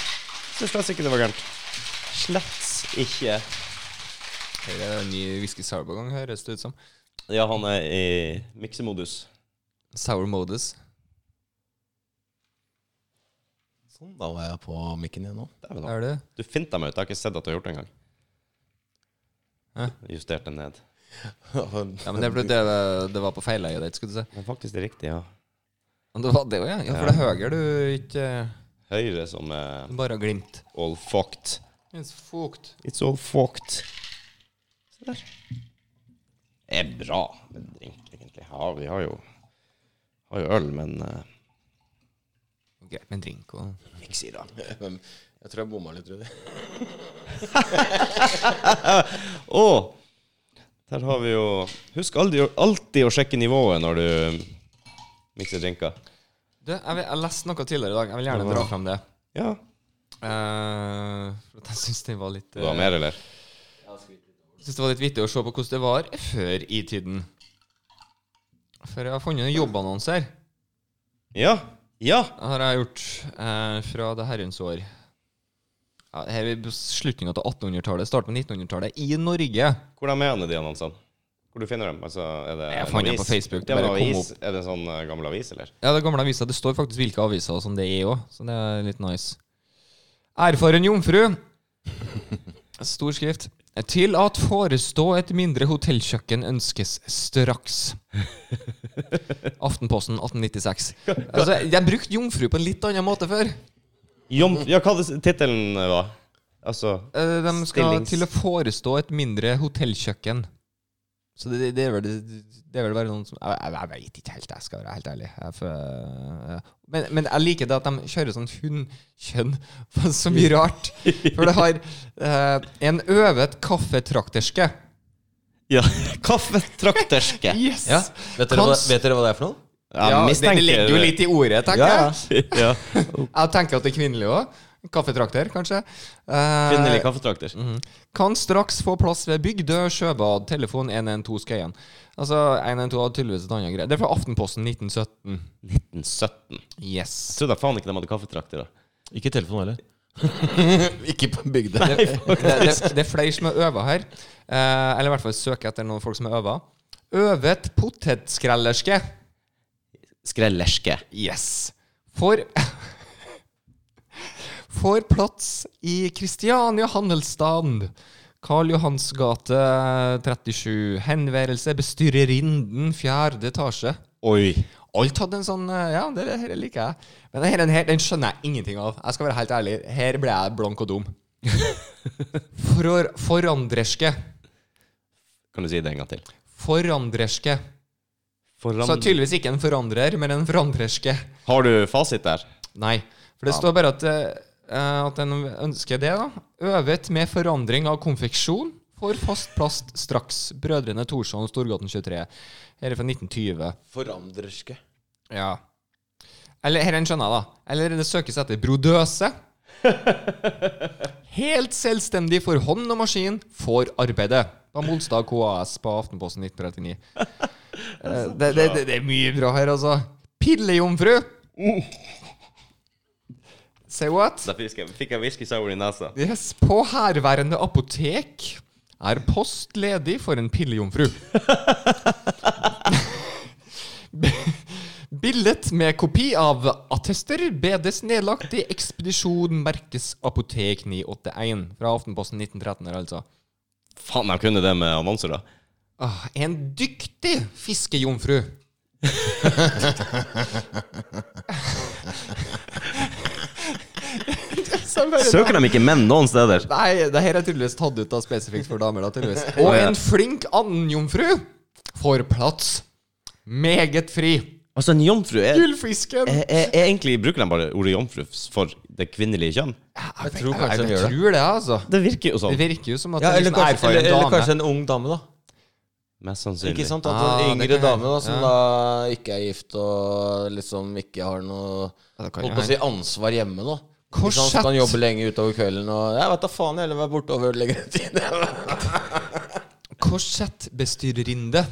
S3: Syns slett ikke det var gærent. Slett ikke.
S4: Her er det en ny whisky sour på gang, høres det ut som.
S3: Ja, han er i miksemodus.
S4: Sour modus.
S1: Sånn, da var jeg på mikken igjen nå.
S3: Dæven, da.
S4: Er du?
S3: Du finta meg ut. Jeg har ikke sett at du har gjort det engang.
S4: Hæ?
S3: Justert den ned.
S4: Ja, men det, ble, det, det var på feileiet ditt, skulle du si.
S3: Men faktisk det er riktig, ja.
S4: Men det var det òg, ja. ja. For det er høyere du ikke
S3: Høyre som er
S4: Bare har glimt.
S3: all fucked.
S4: It's fucked.
S3: It's all fucked. Se der. Det er bra med drink, egentlig. Ja, vi har jo, har jo øl, men eh,
S4: Greit med en drink og
S1: Men Jeg tror jeg bomma litt, Rudi.
S3: Å! Der har vi jo Husk aldri, alltid å sjekke nivået når du mikser drinker.
S4: Du, jeg, vil, jeg leste noe tidligere i dag. Jeg vil gjerne dra frem det.
S3: Ja.
S4: Eh, for at jeg syns det var litt eh,
S3: Du har mer, eller?
S4: Jeg synes det var litt vittig å se på hvordan det var før i tiden. For jeg har funnet en jobbannonser.
S3: Ja. Ja.
S4: Det har jeg gjort eh, fra det herrens år. Ja, her er slutningen av 1800-tallet, starten på 1900-tallet i Norge.
S3: Hvor er han, de annonsene? Hvor du finner dem? Altså, er det
S4: Jeg
S3: en
S4: fant dem
S3: avis?
S4: på Facebook, det
S3: Ja, men
S4: bare kom
S3: avis. Er det en sånn eh, gammel avis, eller?
S4: Ja, det gamle avisa. Det står faktisk hvilke aviser og sånn det er òg, så det er litt nice. Erfaren jomfru. Stor skrift. Til at forestå et mindre hotellkjøkken ønskes straks. Aftenposten 1896. Altså, jeg brukte jomfru på en litt annen måte før.
S3: Jom, ja, hva det- tittelen var? Altså
S4: Eh, De skal
S3: Stillings-
S4: til å forestå et mindre hotellkjøkken. Så det, det, er vel, det er vel bare noen som Jeg, jeg, jeg veit ikke helt, jeg skal være helt ærlig. Jeg, får- ja. men, men jeg liker det at de kjører sånn hundkjønn på så mye rart. For det har eh, en øvet kaffetrakterske.
S3: Ja. Kaffetrakterske.
S4: Yes!
S1: Ja.
S4: Ja,
S1: Vet dere, hva,
S4: Kans-
S1: vet dere hva det er for noe?
S4: det, det ligger jo litt i ordet, tenker
S1: Ja,
S4: jeg.
S3: ja.
S4: Jeg tenker at det er kvinnelig òg. Kaffetrakter, kanskje. Eh,
S3: Kvinnelig kaffetrakter.
S4: Kan straks få plass ved Bygdø sjøbad. Telefon 112 Skøyen. Altså, 112 hadde tydeligvis et annet greie. Det er fra Aftenposten 1917.
S3: 1917.
S4: Yes.
S3: Jeg trodde faen ikke de hadde kaffetrakter. da
S1: Ikke telefon heller. Ikke på bygda.
S4: Det, det, det, det er flere som har øva her. Eh, eller i hvert fall søker etter noen folk som har øva. Øvet potetskrellerske.
S3: Skrellerske.
S4: Yes. For For plass i Kristiania handelsstand. Karl Johans gate 37. Henvendelse bestyrer Rinden, fjerde etasje.
S3: Oi.
S4: Alt hadde en sånn eh, Ja, det dette liker jeg. Men denne her, den skjønner jeg ingenting av. Jeg skal være helt ærlig. Her ble jeg blank og dum. For, forandrerske.
S3: Kan du si det en gang til?
S4: Forandrerske. Så tydeligvis ikke en forandrer, men en forandrerske.
S3: Har du fasit der?
S4: Nei. For det står bare at, eh, at en ønsker det, da. Øvet med forandring av konfeksjon. Får fast plast straks. Brødrene Thorsson, Storgaten 23. Her er fra 1920.
S1: Forandrerske.
S4: Ja. Eller her er en skjønner jeg, da. Eller det søkes etter brodøse. Helt selvstendig for hånd og maskin får arbeidet. På Molstad KAS på Aftenposten 1939. Eh, Det, det, det, det er mye bra her, altså. Pillejomfru. Say what?
S3: Derfor fikk jeg, fikk jeg whisky sour i nesa.
S4: Yes, På herværende apotek er post ledig for en pillejomfru. Bildet med kopi av attester bedes nedlagt i ekspedisjon merkes Apotek 981 fra Aftenposten 1913 her, altså.
S3: Faen, jeg kunne det med annonser, da.
S4: Ah, en dyktig fiskejomfru.
S3: Søker de ikke menn noen steder?
S4: Nei, det her er tydeligvis tatt ut da spesifikt for damer. da tydeligvis Og en flink andjomfru får plass. Meget fri.
S3: Altså, en jomfru er,
S4: Gullfisken!
S3: er, er, er Egentlig bruker de bare ordet jomfru for det kvinnelige kjønn.
S1: Jeg tror kanskje
S4: jeg,
S1: de gjør det.
S4: tror det, altså.
S3: Det virker jo
S4: Det
S3: sånn.
S4: virker jo som at
S1: Ja,
S4: det er
S1: eller,
S4: liksom
S1: kanskje,
S4: erfaren
S1: eller, eller
S4: dame.
S1: kanskje en ung dame, da.
S3: Mest
S1: Ikke
S3: sannsynlig.
S1: sant? At
S4: Ah,
S1: en
S4: det
S1: yngre
S4: kan
S1: dame da,
S4: hende.
S1: som
S4: Ja.
S1: da ikke er gift og liksom ikke har noe
S4: Ja, det kan jo
S1: holdt på å si ansvar hjemme, da. Ikke sant?
S4: Korsett.
S1: Kan jobbe lenge utover kvelden og Jeg vet da faen, jeg vil være borte over lengre tid.
S4: Korsettbestyrerinde.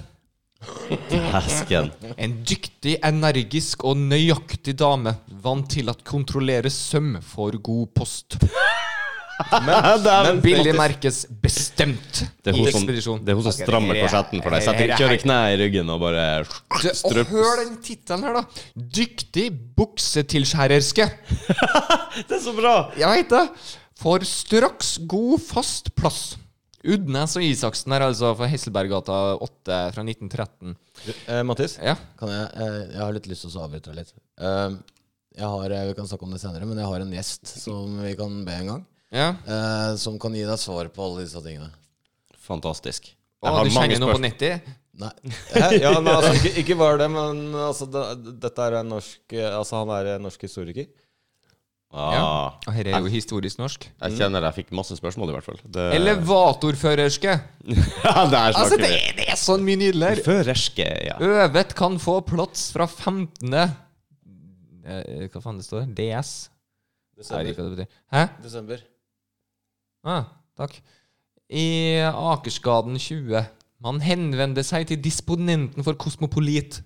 S3: Hesken.
S4: En dyktig, energisk og nøyaktig dame vant til at kontrollere søm får god post. Men Billy merkes bestemt
S3: Det er
S4: i
S3: hun som,
S4: ekspedisjon.
S3: det er hun som strammer korsetten for deg. Setter, kjører kne i ryggen og bare
S4: Og
S3: strups.
S4: hør den tittelen her, da. Dyktig buksetilskjærerske.
S3: Det er så bra!
S4: Jeg veit det. Får straks god, fast plass. Udnes og Isaksen her, altså, fra Hesselberggata 8 fra 1913.
S1: eh, Mattis,
S4: Ja.
S1: kan jeg, eh, jeg har litt lyst til å avbryte deg litt. Eh, jeg har, eh, vi kan snakke om det senere, men jeg har en gjest som vi kan be en gang.
S4: ja.
S1: eh, som kan gi deg svar på alle disse tingene.
S3: Fantastisk.
S4: Å, du kjenner noe på 90?
S1: Nei. Ja, men altså, ikke, ikke bare det, men altså, det, dette er en norsk eh, Altså, han er en norsk historiker.
S3: Ah,
S4: Og her er jo historisk norsk.
S3: jeg kjenner jeg fikk masse spørsmål, i hvert fall. Det,
S4: Elevatorførerske.
S3: ja, Der
S4: Altså,
S3: Eh. snakker vi.
S4: det, det er sånn mye nydelig her.
S3: Førerske, ja.
S4: Øvet kan få plats fra 15. Eh, Hva faen det står? DS? Jeg vet
S1: Desember.
S4: ikke hva det betyr. Hæ?
S1: Desember.
S4: Ah, takk. I Akersgaden 20. Man henvender seg til disponenten for Kosmopolit.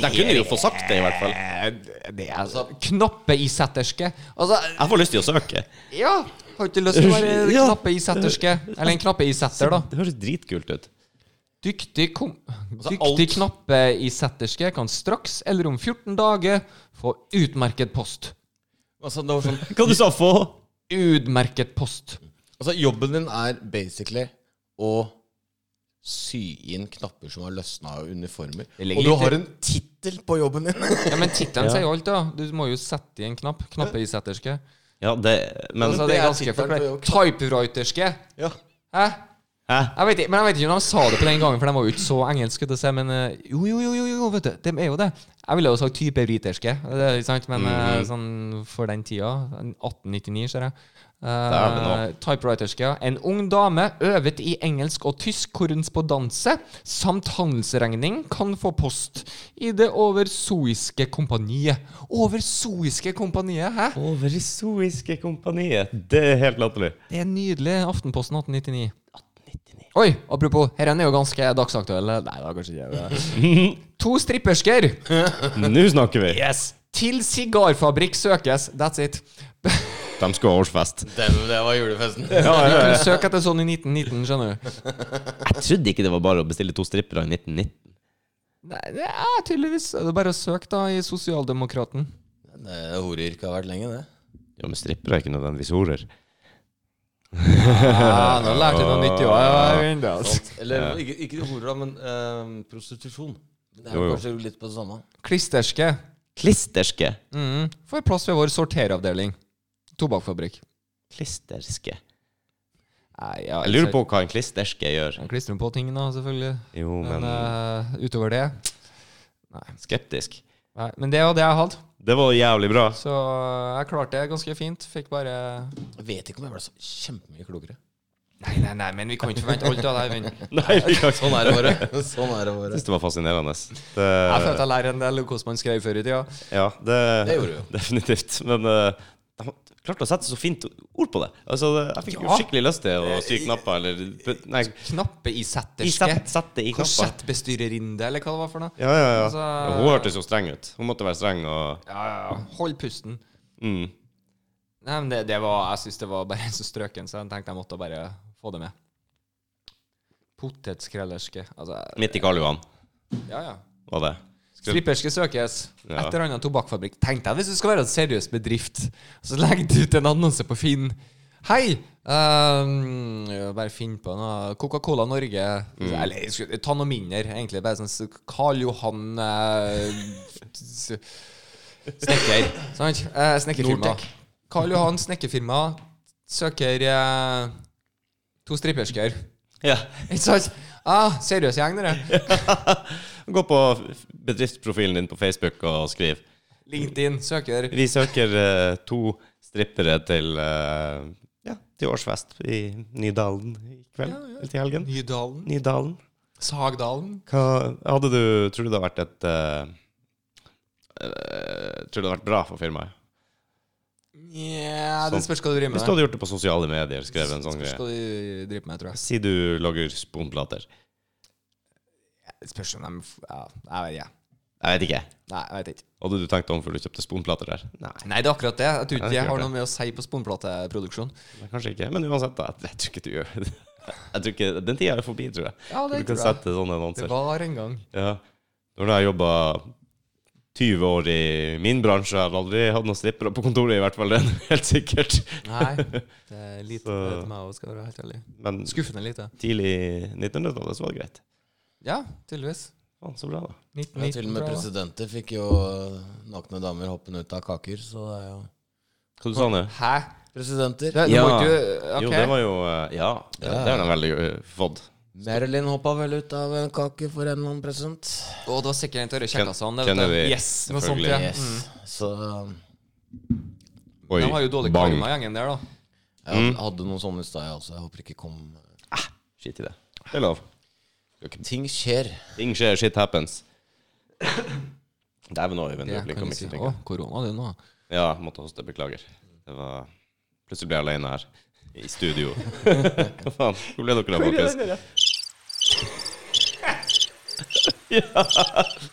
S3: De kunne jo få sagt det, i hvert fall.
S4: Eh, Altså, Det er altså Knappeissetterske. Altså,
S3: Jeg får lyst til å søke.
S4: ja! Har ikke lyst til å være
S3: Ja.
S4: knappeissetterske. Eller en knappeissetter, da.
S3: Det høres dritkult ut.
S4: Dyktig, kom, dyktig
S1: alt-
S4: knappeissetterske kan straks eller om 14 dager få utmerket post.
S1: Altså, det var sånn
S3: Hva du sa få?
S4: Utmerket post.
S1: Altså, jobben din er basically å sy inn knapper som har løsna av uniformer.
S4: Det ligger
S1: Og du
S4: litt i-
S1: har en tittel på jobben din!
S4: Ja, Men tittelen sier jo alt, da. Du må jo sette i en knapp. Knappeissetterske.
S3: Ja, det Men
S4: Altså,
S1: det
S4: det
S1: er
S4: er
S1: tittelen
S4: ganske
S1: på
S4: forklart.
S1: jobb.
S4: Typewriterske.
S1: ja.
S4: Hæ?
S3: Hæ?
S4: Jeg vet ikke, men jeg vet ikke om de sa det på den gangen, for de var jo ikke så engelske. til å se, men eh, jo, jo, jo, jo, jo, vet du, de er jo det. Jeg ville jo sagt typewriterske, det er ikke sant, men eh, sånn for den tida, 1899, ser jeg. Uh,
S3: Dæven
S4: typewriterske. ja. En ung dame øvet i engelsk og tysk korrespondanse samt handelsregning kan få post i det oversoiske kompaniet. Oversoiske kompaniet, hæ?
S3: Over Isoiske kompaniet. Det er helt latterlig.
S4: Det er nydelig. Aftenposten 1899. Oi, apropos, her er den jo ganske dagsaktuell. Nei, det er kanskje ikke det. To strippersker
S3: Nå snakker vi.
S4: til sigarfabrikk søkes. That's it.
S3: De skulle ha årsfest.
S1: Den, det var julefesten.
S4: Vi kunne søke etter sånn i 1919, skjønner du.
S3: Jeg trodde ikke det var bare å bestille to strippere i 1990.
S4: Nei, det er tydeligvis Det er bare å søke, da, i Sosialdemokraten.
S1: Det Horeyrket Eh, har vært lenge, det.
S3: Ja, men strippere er ikke nødvendigvis horer.
S4: Ja, Ah, nå lærte jeg noe nytt i år.
S1: Sant. Eller ikke, ikke horer, da, men eh, prostitusjon. Det er jo,
S3: Jo, jo.
S1: kanskje litt på det samme.
S4: Klisterske.
S3: Klisterske.
S4: Mm. Får plass ved vår sorteravdeling. Tobakksfabrikk.
S3: Klisterske.
S4: Nei, ja,
S3: Jeg lurer på hva en klisterske gjør.
S4: Han klistrer på ting, da, selvfølgelig.
S3: Jo,
S4: Men
S3: men eh,
S4: eh, utover det
S3: skeptisk.
S4: Nei, Men det var det jeg hadde.
S3: Det var jævlig bra.
S4: Så eh, jeg klarte det ganske fint. Fikk bare
S1: Jeg vet ikke om jeg ble så kjempemye klokere.
S4: Nei, nei, nei, men vi kan ikke forvente alt av deg. venn.
S3: Nei, vi kan ikke.
S1: Sånn er det bare. Sånn er det
S3: Jeg
S1: bare.
S3: syns det var fascinerende.
S4: Jeg
S3: Det,
S4: følte jeg lærer en del om hvordan man skrev før i tida.
S3: ja, det,
S1: Det gjorde vi jo.
S3: Definitivt. Men eh, de klarte å sette så fint ord på det. Altså, det- jeg fikk jo
S4: Ja.
S3: skikkelig lyst til å sy knapper, eller put- Nei,
S4: Knappe i
S3: i
S4: setterske.
S3: sett, sett det i knapper.
S4: Korsettbestyrerinde, eller hva det var for noe.
S3: Ja, ja, ja.
S4: Altså-
S3: Ja, Hun hørtes jo streng ut. Hun måtte være streng og
S4: Ja, ja, ja. Hold pusten.
S3: mm.
S4: Nei, men det, det var, Jeg syns det var bare en så strøken, så jeg tenkte jeg måtte bare få det med. Potetskrellerske. Altså
S3: Midt i Karl Johan
S4: Ja, ja.
S3: var det. Skru-
S4: Stripperske søkes.
S3: Ja.
S4: Et eller annet tobakksfabrikk. Tenk deg hvis du skal være en seriøs bedrift, så legger du ut en annonse på Finn. Hei! ehm, ja, bare finn på noe. Coca-Cola Norge. Eller sku- ta noe mindre, egentlig. Bare sånn s- Karl Johan eh, s- Snekker. Sant? Eh, snekkerfirma.
S1: Nortec.
S4: Karl Johan snekkerfirma søker eh, to strippersker.
S3: Ja.
S4: Ikke sant? Ah, seriøs gjeng, dere.
S3: Gå på f- bedriftsprofilen din på Facebook og skriv.
S4: LinkedIn søker
S3: Vi søker eh, to strippere til eh, ja, til årsfest i Nydalen i kveld.
S4: Ja, ja.
S3: Eller til helgen.
S4: Nydalen.
S3: Nydalen.
S4: Sagdalen.
S3: Hva hadde du Tror du det hadde vært et eh, eh, Tror du det hadde vært bra for firmaet?
S4: Nja,
S3: Sånn.
S4: det spørs hva du driver
S3: Hvis
S4: med.
S3: du hadde gjort det på sosiale medier, skrevet en sånn
S4: Spørs
S3: greie.
S4: hva du driver med, tror jeg.
S3: Si du lager sponplater.
S4: Det Spørs om de f- ja, Jeg vet ikke.
S3: Jeg vet ikke.
S4: Nei, jeg vet ikke.
S3: Hadde du tenkt om før du kjøpte sponplater der? Nei,
S4: Nei, det er akkurat det. Jeg tror
S3: Nei,
S4: ikke
S3: det er
S4: jeg har
S3: klart
S4: noe med å si på sponplateproduksjon.
S3: nei, kanskje ikke. Men uansett, da. Jeg tror ikke du gjør det. Jeg tror ikke, Den tida er forbi, tror jeg.
S4: Ja, det
S3: Du kan
S4: tror jeg.
S3: sette sånne
S4: Det
S3: annonser.
S4: var en gang.
S3: Ja. Når jeg jobba 20 år i min bransje, jeg har aldri hatt noen strippere på kontoret, i hvert fall. Det er helt sikkert.
S4: Nei. Det er lite
S3: Så-
S4: det til meg også, skal være helt ærlig.
S3: Men
S4: Skuffende lite.
S3: tidlig 1900-tallet så var det greit.
S4: Ja, tydeligvis.
S3: Faen, så bra, da.
S1: Ja,
S4: 1919,
S1: til og med
S4: tror jeg det var.
S1: presidenter fikk jo nakne damer hoppende ut av kaker, så det er jo
S3: Hva du sa nå?
S4: Hæ?
S1: Presidenter.
S4: Det,
S3: Ja.
S4: ja. Du, ok.
S3: Jo, det var jo eh, Ja, det,
S1: Ja.
S3: det har de veldig eh, fått.
S1: Marilyn hoppa vel ut av en kake for en eller annen present.
S4: Å, det var sikkert en av de kjekkeste. han, det, vet
S3: Kjenner
S4: du.
S3: vi,
S4: Yes, det var sånn sånt, ja.
S3: selvfølgelig.
S1: Yes. Så um,
S3: Oi,
S4: De har jo dårlig
S3: bang.
S4: karma, gjengen der, da.
S1: jeg hadde, hadde noen sånne i stad, jeg også. Jeg håper ikke kom
S3: Skit i det. Det er lov.
S1: Ting skjer.
S3: Ting skjer, shit happens. Dæven òg, Øyvind.
S4: Det
S3: Du
S4: kan
S3: blinka
S4: vi
S3: mye.
S4: si.
S3: tenker
S4: Å,
S3: jeg.
S4: korona, det nå.
S3: Ja, måtte hoste. Beklager. Det var Plutselig ble jeg alene her. I studio. Hva faen? Hvor ble dere av, folkens? Ja,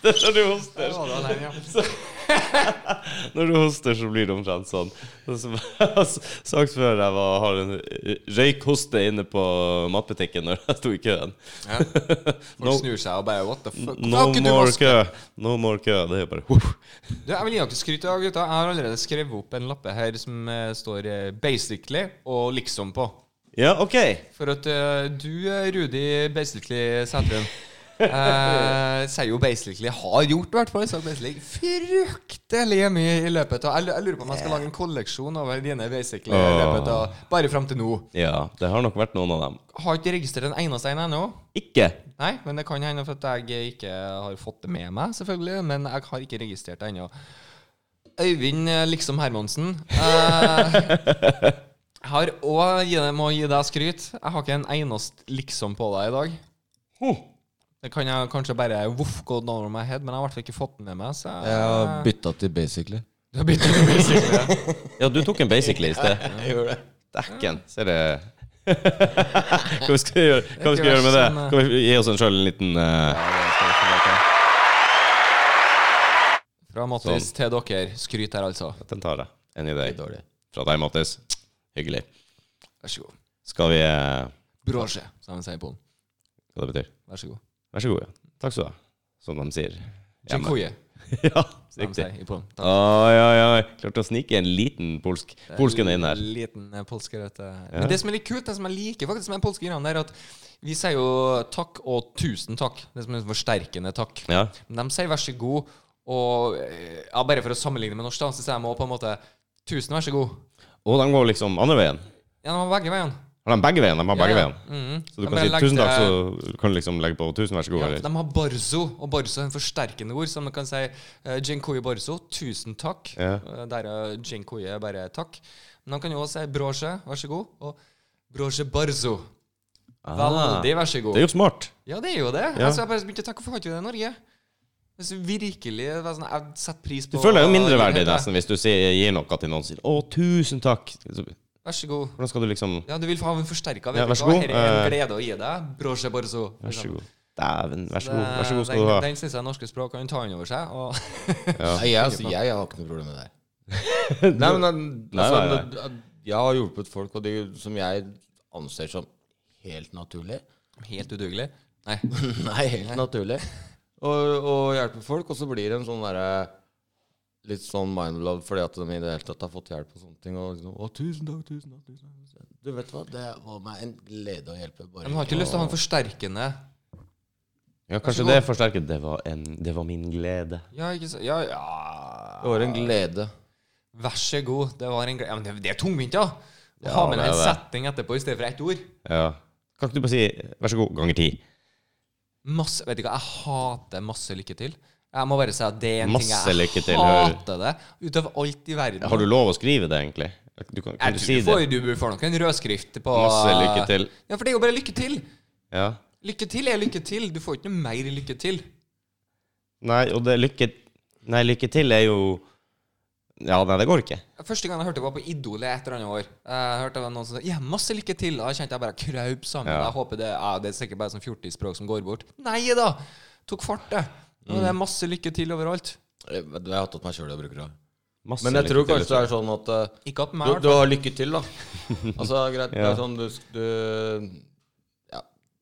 S3: det er når du hoster.
S4: Ja, det var den, ja.
S3: Når du hoster, så blir det omtrent sånn. Det som jeg har sagt før, jeg var, har en røykhoste inne på matbutikken når jeg sto i køen.
S4: Folk snur seg og bare What the fuck?
S3: No
S4: Hvorfor har ikke du
S3: more
S4: vasket?
S3: kø. No more kø. Det er jo bare huff.
S4: Du, jeg vil gi dere skryt av gutta. Jeg har allerede skrevet opp en lappe her som eh, står eh, 'basically' og 'liksom' på.
S3: Ja, OK.
S4: For at eh, du, eh, Rudi Basically Sætrum, eh, sier jo 'basically' har gjort, i hvert fall. Sagt basically fryktelig mye i løpet av Jeg lu- jeg lurer på om jeg skal lage en kolleksjon over dine 'basically' i
S3: Åh.
S4: løpet av Bare fram til nå.
S3: Ja, det har nok vært noen av dem.
S4: Har ikke registrert en eneste en ennå.
S3: Ikke.
S4: Nei, men det kan hende for at jeg ikke har fått det med meg, selvfølgelig. Men jeg har ikke registrert det ennå. Øyvind eh, liksom Hermansen. Eh, jeg har òg må gi deg skryt. Jeg har ikke en eneste liksom på deg i dag.
S3: Huh.
S4: Det kan jeg kanskje bare voff gå over my head, men jeg har i hvert fall ikke fått den med meg. Så jeg,
S1: bytta til basically.
S4: Du har begynt å bli sikker.
S3: Ja, du tok en basically i sted.
S1: Jeg gjorde det.
S3: Dækken. Ser det Hva vi skal gjøre, hva vi skal gjøre med det? Kan vi gi oss en sjøl en liten eh,
S4: Fra Mattis til dere. altså. Skryt her, altså.
S3: Den tar jeg. Enig i
S1: Litt
S3: deg.
S1: dårlig.
S3: fra deg, Mattis. Hyggelig.
S4: Vær så god.
S3: Skal vi eh,
S4: Brosje, som de sier i Polen.
S3: Hva det betyr?
S4: Vær så god.
S3: Vær så god, ja. Takk skal du ha. Som de sier. hjemme.
S4: Dziękuję,
S3: ja,
S4: som de
S3: riktig.
S4: sier i Polen. Takk.
S3: Oi, oi, oi. Klarte å snike en liten polsk polsken inn her.
S4: Liten eh, polsker, vet du. Men det som er litt kult, det som jeg liker faktisk med den polske greia, det er at vi sier jo takk og tusen takk. Det som er en forsterkende takk.
S3: Ja.
S4: Men de sier vær så god, og eh, ja, bare for å sammenligne med norsk, da, så sier de også på en måte tusen vær så god.
S3: Og de går liksom andre veien.
S4: Ja, de har begge veiene.
S3: Har de begge veien? De har begge
S4: ja, ja.
S3: veien.
S4: Mhm.
S3: Så du
S4: De
S3: kan
S4: bare
S3: si
S4: legger
S3: 'tusen takk',
S4: til-
S3: så kan du liksom legge på 'tusen, vær så god'.
S4: ja,
S3: eller
S4: De har barzo, og barzo er en forsterkende ord, som man kan si eh, Dziękuję barzo, tusen takk.
S3: Ja.
S4: Eh, Der er dziękuję bare takk. Men de kan jo også si brosje, vær så god, og brosje barzo.
S3: Ah.
S4: Veldig, vær så god.
S3: Det er jo smart.
S4: Ja, det er jo det.
S3: Ja.
S4: Altså, jeg bare begynte å tenke Hvorfor har ikke vi det i Norge? Hvis vi virkelig det var sånn, Jeg setter pris på
S3: Du føler deg jo mindreverdig
S4: Helt det.
S3: nesten hvis du sier, gir noe til noen og sier 'å, tusen takk'. Så,
S4: Vær så god.
S3: hvordan skal du liksom
S4: Ja, du vil ha en forsterka
S3: Ja,
S4: vedtak.
S3: vær så god.
S4: Her er en
S3: Eh,
S4: glede å gi deg. Brosje borzo.
S3: Vær så god. Dæven, vær så god. Vær så god skal
S4: den,
S3: du ha.
S4: Den syns jeg norske språk kan ta inn over seg. Og
S1: Nei, jeg, altså, jeg har ikke noe problem med det. her. Nei, men altså,
S3: Nei, nei,
S1: Jeg har hjulpet folk, og de som jeg anser som helt naturlig.
S4: helt udugelig. Nei.
S1: Nei, helt naturlig. Og, og hjelpe folk, og så blir det en sånn derre Litt sånn mindblood fordi at de i det hele tatt har fått hjelp og sånne ting. Og liksom, å, tusen takk, tusen takk, tusen takk. Du vet hva, det var meg en glede å hjelpe. Bare.
S4: Men har ikke lyst til å ha en forsterkende
S3: Ja, kanskje det forsterker det var, en, det var min glede.
S4: Ja, ikke så Ja, ja.
S1: Det var en glede.
S4: Vær så god. Det var en glede Ja, men det, det er tungvint, ja. Å
S3: Ja,
S4: ha med
S3: det
S4: en
S3: er det.
S4: setning etterpå i stedet for ett ord.
S3: Ja. Kan ikke du bare si 'vær så god' ganger ti?
S4: Masse, vet du hva, jeg hater masse lykke til. Jeg må bare si at det er en
S3: Masse
S4: ting
S3: lykke
S4: jeg
S3: til,
S4: hater det. Ut av alt i verden.
S3: Har du lov å skrive det, egentlig? Du kan, kan
S4: jeg
S3: du
S4: tror
S3: si
S4: du
S3: det?
S4: får, du får nok en rødskrift på
S3: Masse lykke til.
S4: Ja, for det er jo bare lykke til.
S3: Ja.
S4: Lykke til er lykke til. Du får ikke noe mer lykke til.
S3: Nei, og det lykke Nei, lykke til er jo Ja, nei, det går ikke.
S4: Første gang jeg hørte det var på Idol i et eller annet år. Jeg hørte det var noen som sa ja, 'masse lykke til', og da kjente jeg bare kraup sammen.
S3: Ja.
S4: Jeg håper Det ja, det er sikkert bare sånn 40-språk som går bort. Nei da! Tok fart, det. Nå er
S3: Mm.
S4: det masse lykke til overalt.
S1: Jeg, jeg har tatt meg sjøl i å bruke det.
S3: Masse
S1: Men jeg tror
S3: lykke til,
S1: kanskje det er sånn at eh,
S4: Ikke at meg,
S1: Du,
S4: i hvert
S1: du
S4: fall.
S1: har lykke til, da. Altså, greit. Det
S3: Ja.
S1: er sånn du, du Ja,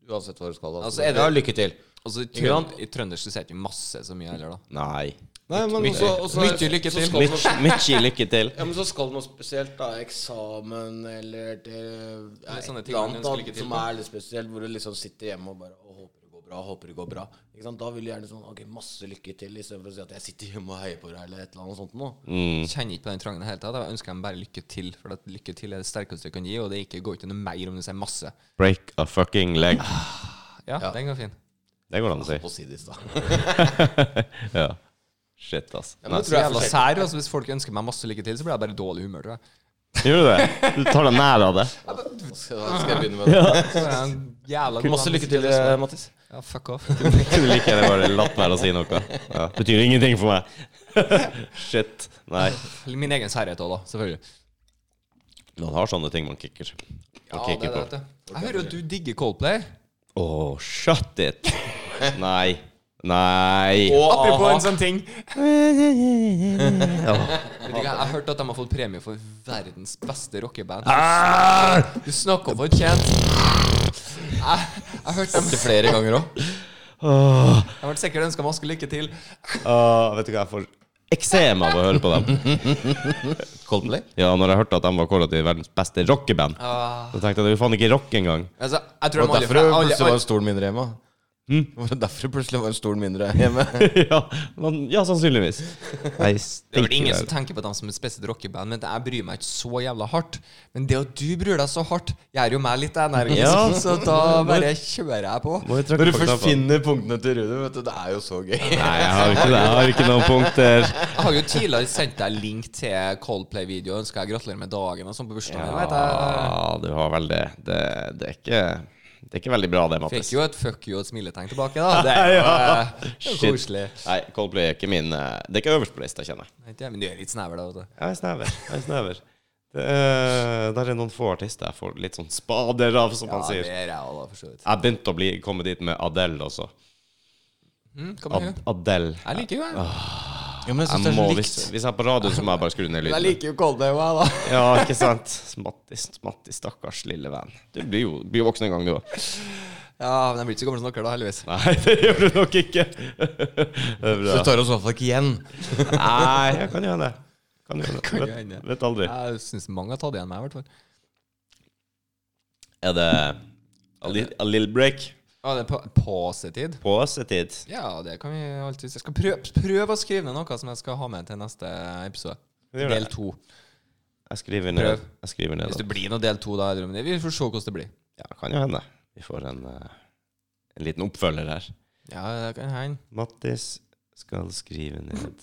S1: uansett hva du skal. Altså,
S4: Altså, er det-
S1: ja, lykke til.
S4: Altså, i,
S1: Ikke sant?
S4: trønd, I trøndersk så sier jeg ikke 'masse' så mye heller, da.
S3: Nei.
S1: Nei, men
S4: Mye-
S1: også- også-
S4: mye lykke til.
S1: Så skal man,
S3: Mykje mykje lykke til.
S1: ja, men så skal man spesielt da eksamen eller til ja,
S4: Det er sånne
S1: et
S4: ting
S1: eller
S4: man
S1: annet
S4: ønsker
S1: da,
S4: lykke til
S1: som
S4: på.
S1: er litt spesielt, hvor du liksom sitter hjemme og bare å, håper det går bra, håper det går bra. Ikke sant? Da vil du gjerne sånn OK, masse lykke til, istedenfor å si at jeg sitter hjemme og heier på deg, eller et eller annet sånt noe.
S3: Mm.
S4: kjenner ikke på den trangen i det hele tatt. Jeg ønsker dem bare lykke til, for at lykke til er det sterkeste jeg kan gi, og det ikke går ikke noe mer om du sier masse.
S3: Break a fucking leg.
S4: Ja, den går fin.
S3: Det går det an å si.
S1: På sidis, da.
S3: Ja. Shit, ass.
S1: men
S3: Nei.
S1: det
S4: Så
S1: tror jeg er
S4: jævla
S1: forskjellig.
S4: sær, altså, hvis folk ønsker meg masse lykke til, så blir jeg bare i dårlig humør, tror jeg.
S3: Gjør du det? Du tar deg nær av det?
S1: Da skal da skal jeg begynne med det.
S4: Så er jeg en jævla god
S1: Masse
S4: mann.
S1: lykke til, eh, Mattis.
S4: sånn. Ja, fuck off.
S3: Kunne like gjerne bare latt være å si noe. Ja. Betyr ingenting for meg. Shit. Nei.
S4: Min egen særhet òg, da, selvfølgelig.
S3: Man har sånne ting man kicker. Man kicker på.
S4: Jeg hører at du digger Coldplay.
S3: Åh, shut it! Nei. Nei.
S1: Og
S4: Apropos
S1: aha.
S4: en sånn ting.
S3: Ja.
S4: Vet du hva, Jeg har hørt at de har fått premie for verdens beste rockeband.
S3: Ah!
S4: Du snakker om fortjent. Jeg, jeg hørte dem Ah.
S1: Til flere ganger òg.
S4: Jeg har sikkert ønska masse lykke til.
S3: Åh, vet du hva, jeg får eksem av å høre på dem.
S1: Coldplay?
S3: Ja, når jeg hørte at de var kåret til verdens beste rockeband,
S4: Ah.
S3: så tenkte jeg det er jo faen ikke rock engang.
S4: Altså, jeg tror
S1: Det
S4: de
S1: var
S4: aldri-
S1: derfor det
S4: aldri-
S1: plutselig var
S4: aldri-
S1: en stol mindre hjemme. Det var derfor det plutselig var en stol mindre hjemme.
S3: ja, men, ja, sannsynligvis. Nei,
S4: Det er vel ingen
S3: stikker.
S4: som tenker på dem som et spesielt rockeband, men jeg bryr meg ikke så jævla hardt. Men det at du bryr deg så hardt, gjør jo meg litt energisk,
S3: Ja.
S4: så da bare kjører jeg på.
S3: Må vi trykke
S1: Når du
S3: på
S1: først
S3: knappen?
S1: finner punktene til Rune, vet du, det er jo så gøy.
S3: Nei, jeg har ikke det. Jeg har ikke noen punkter.
S4: Jeg har jo tidligere sendt deg link til Coldplay-video, ønsker jeg gratulerer med dagen og sånn på bursdagen. din, vet jeg.
S3: Ja, du har vel det. Det, det, er, ikke, det er ikke veldig bra, det, Mattis.
S4: Fikk jo et fuck you og et smiletegn tilbake, da. Det er jo eh, det er jo
S3: Shit.
S4: koselig.
S3: Nei, Coldplay er ikke min eh, Det er ikke øverst på lista, kjenner jeg.
S4: Nei, det- Men du er litt snever, da. vet du.
S3: Jeg er snever. Jeg er snever. Det er, der er noen få artister jeg får litt sånn spader av, som
S4: Ja,
S3: man
S4: det
S3: sier.
S4: er jeg òg, da, for så vidt.
S3: Jeg begynte å bli, komme dit med Adele også.
S4: Mm, kom
S3: Ad
S4: igjen.
S3: Adele.
S4: Jeg liker jo henne.
S1: Ja, men jeg synes
S3: Jeg må,
S1: det er
S3: hvis,
S1: så likt.
S3: hvis jeg er på radio, så må jeg bare skru ned
S1: Jeg
S3: lyden.
S1: liker jo Kolde og meg, da.
S3: Ja, ikke sant? Mattis, Mattis, stakkars lille venn. Du blir jo blir jo voksen en gang, du òg.
S4: Ja, men jeg blir ikke så gammel som dere, da, heldigvis.
S3: Nei, det gjør du nok ikke. Det er
S1: Du
S3: bra.
S1: tar oss i hvert fall ikke igjen.
S3: Nei, jeg kan gjøre det. Kan gjøre det.
S4: Kan
S3: Vet-
S4: gjøre det.
S3: Vet aldri.
S4: Jeg syns mange har tatt igjen meg, i hvert fall.
S3: Er det a little, a little break?
S4: Ja, det er pa- pausetid.
S3: Pausetid.
S4: Ja, det kan vi alltid Jeg skal prøve, prøve å skrive ned noe som jeg skal ha med til neste episode.
S3: Gjør det.
S4: Del to.
S3: Jeg skriver ned.
S4: Prøv.
S3: Jeg skriver ned
S4: Hvis
S3: da.
S4: det blir noe del to, da. eller om det- Vi får se hvordan det blir.
S3: Ja, kan jo hende. Vi får en, eh, en liten oppfølger her.
S4: Ja, det kan hende.
S3: Mattis skal skrive ned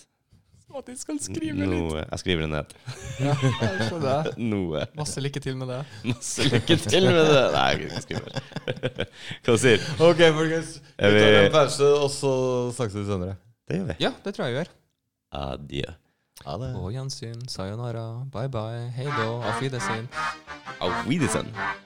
S4: At jeg skal
S3: noe Jeg skriver det ned.
S4: Ja, jeg skjønner det.
S3: Noe.
S4: Masse lykke til med det.
S3: Masse lykke til med det. Nei, jeg kan ikke skrive. Hva sier du?
S1: Ok, folkens.
S3: Er vi- tar en
S1: pause, og så snakkes vi senere.
S3: Det gjør vi.
S4: Ja, det tror jeg vi gjør.
S3: Adjø.
S1: Ja, det
S4: På gjensyn. Sayonara. Bye bye. Hei då. Auf Wiedersehen.
S3: Auf Wiedersehen.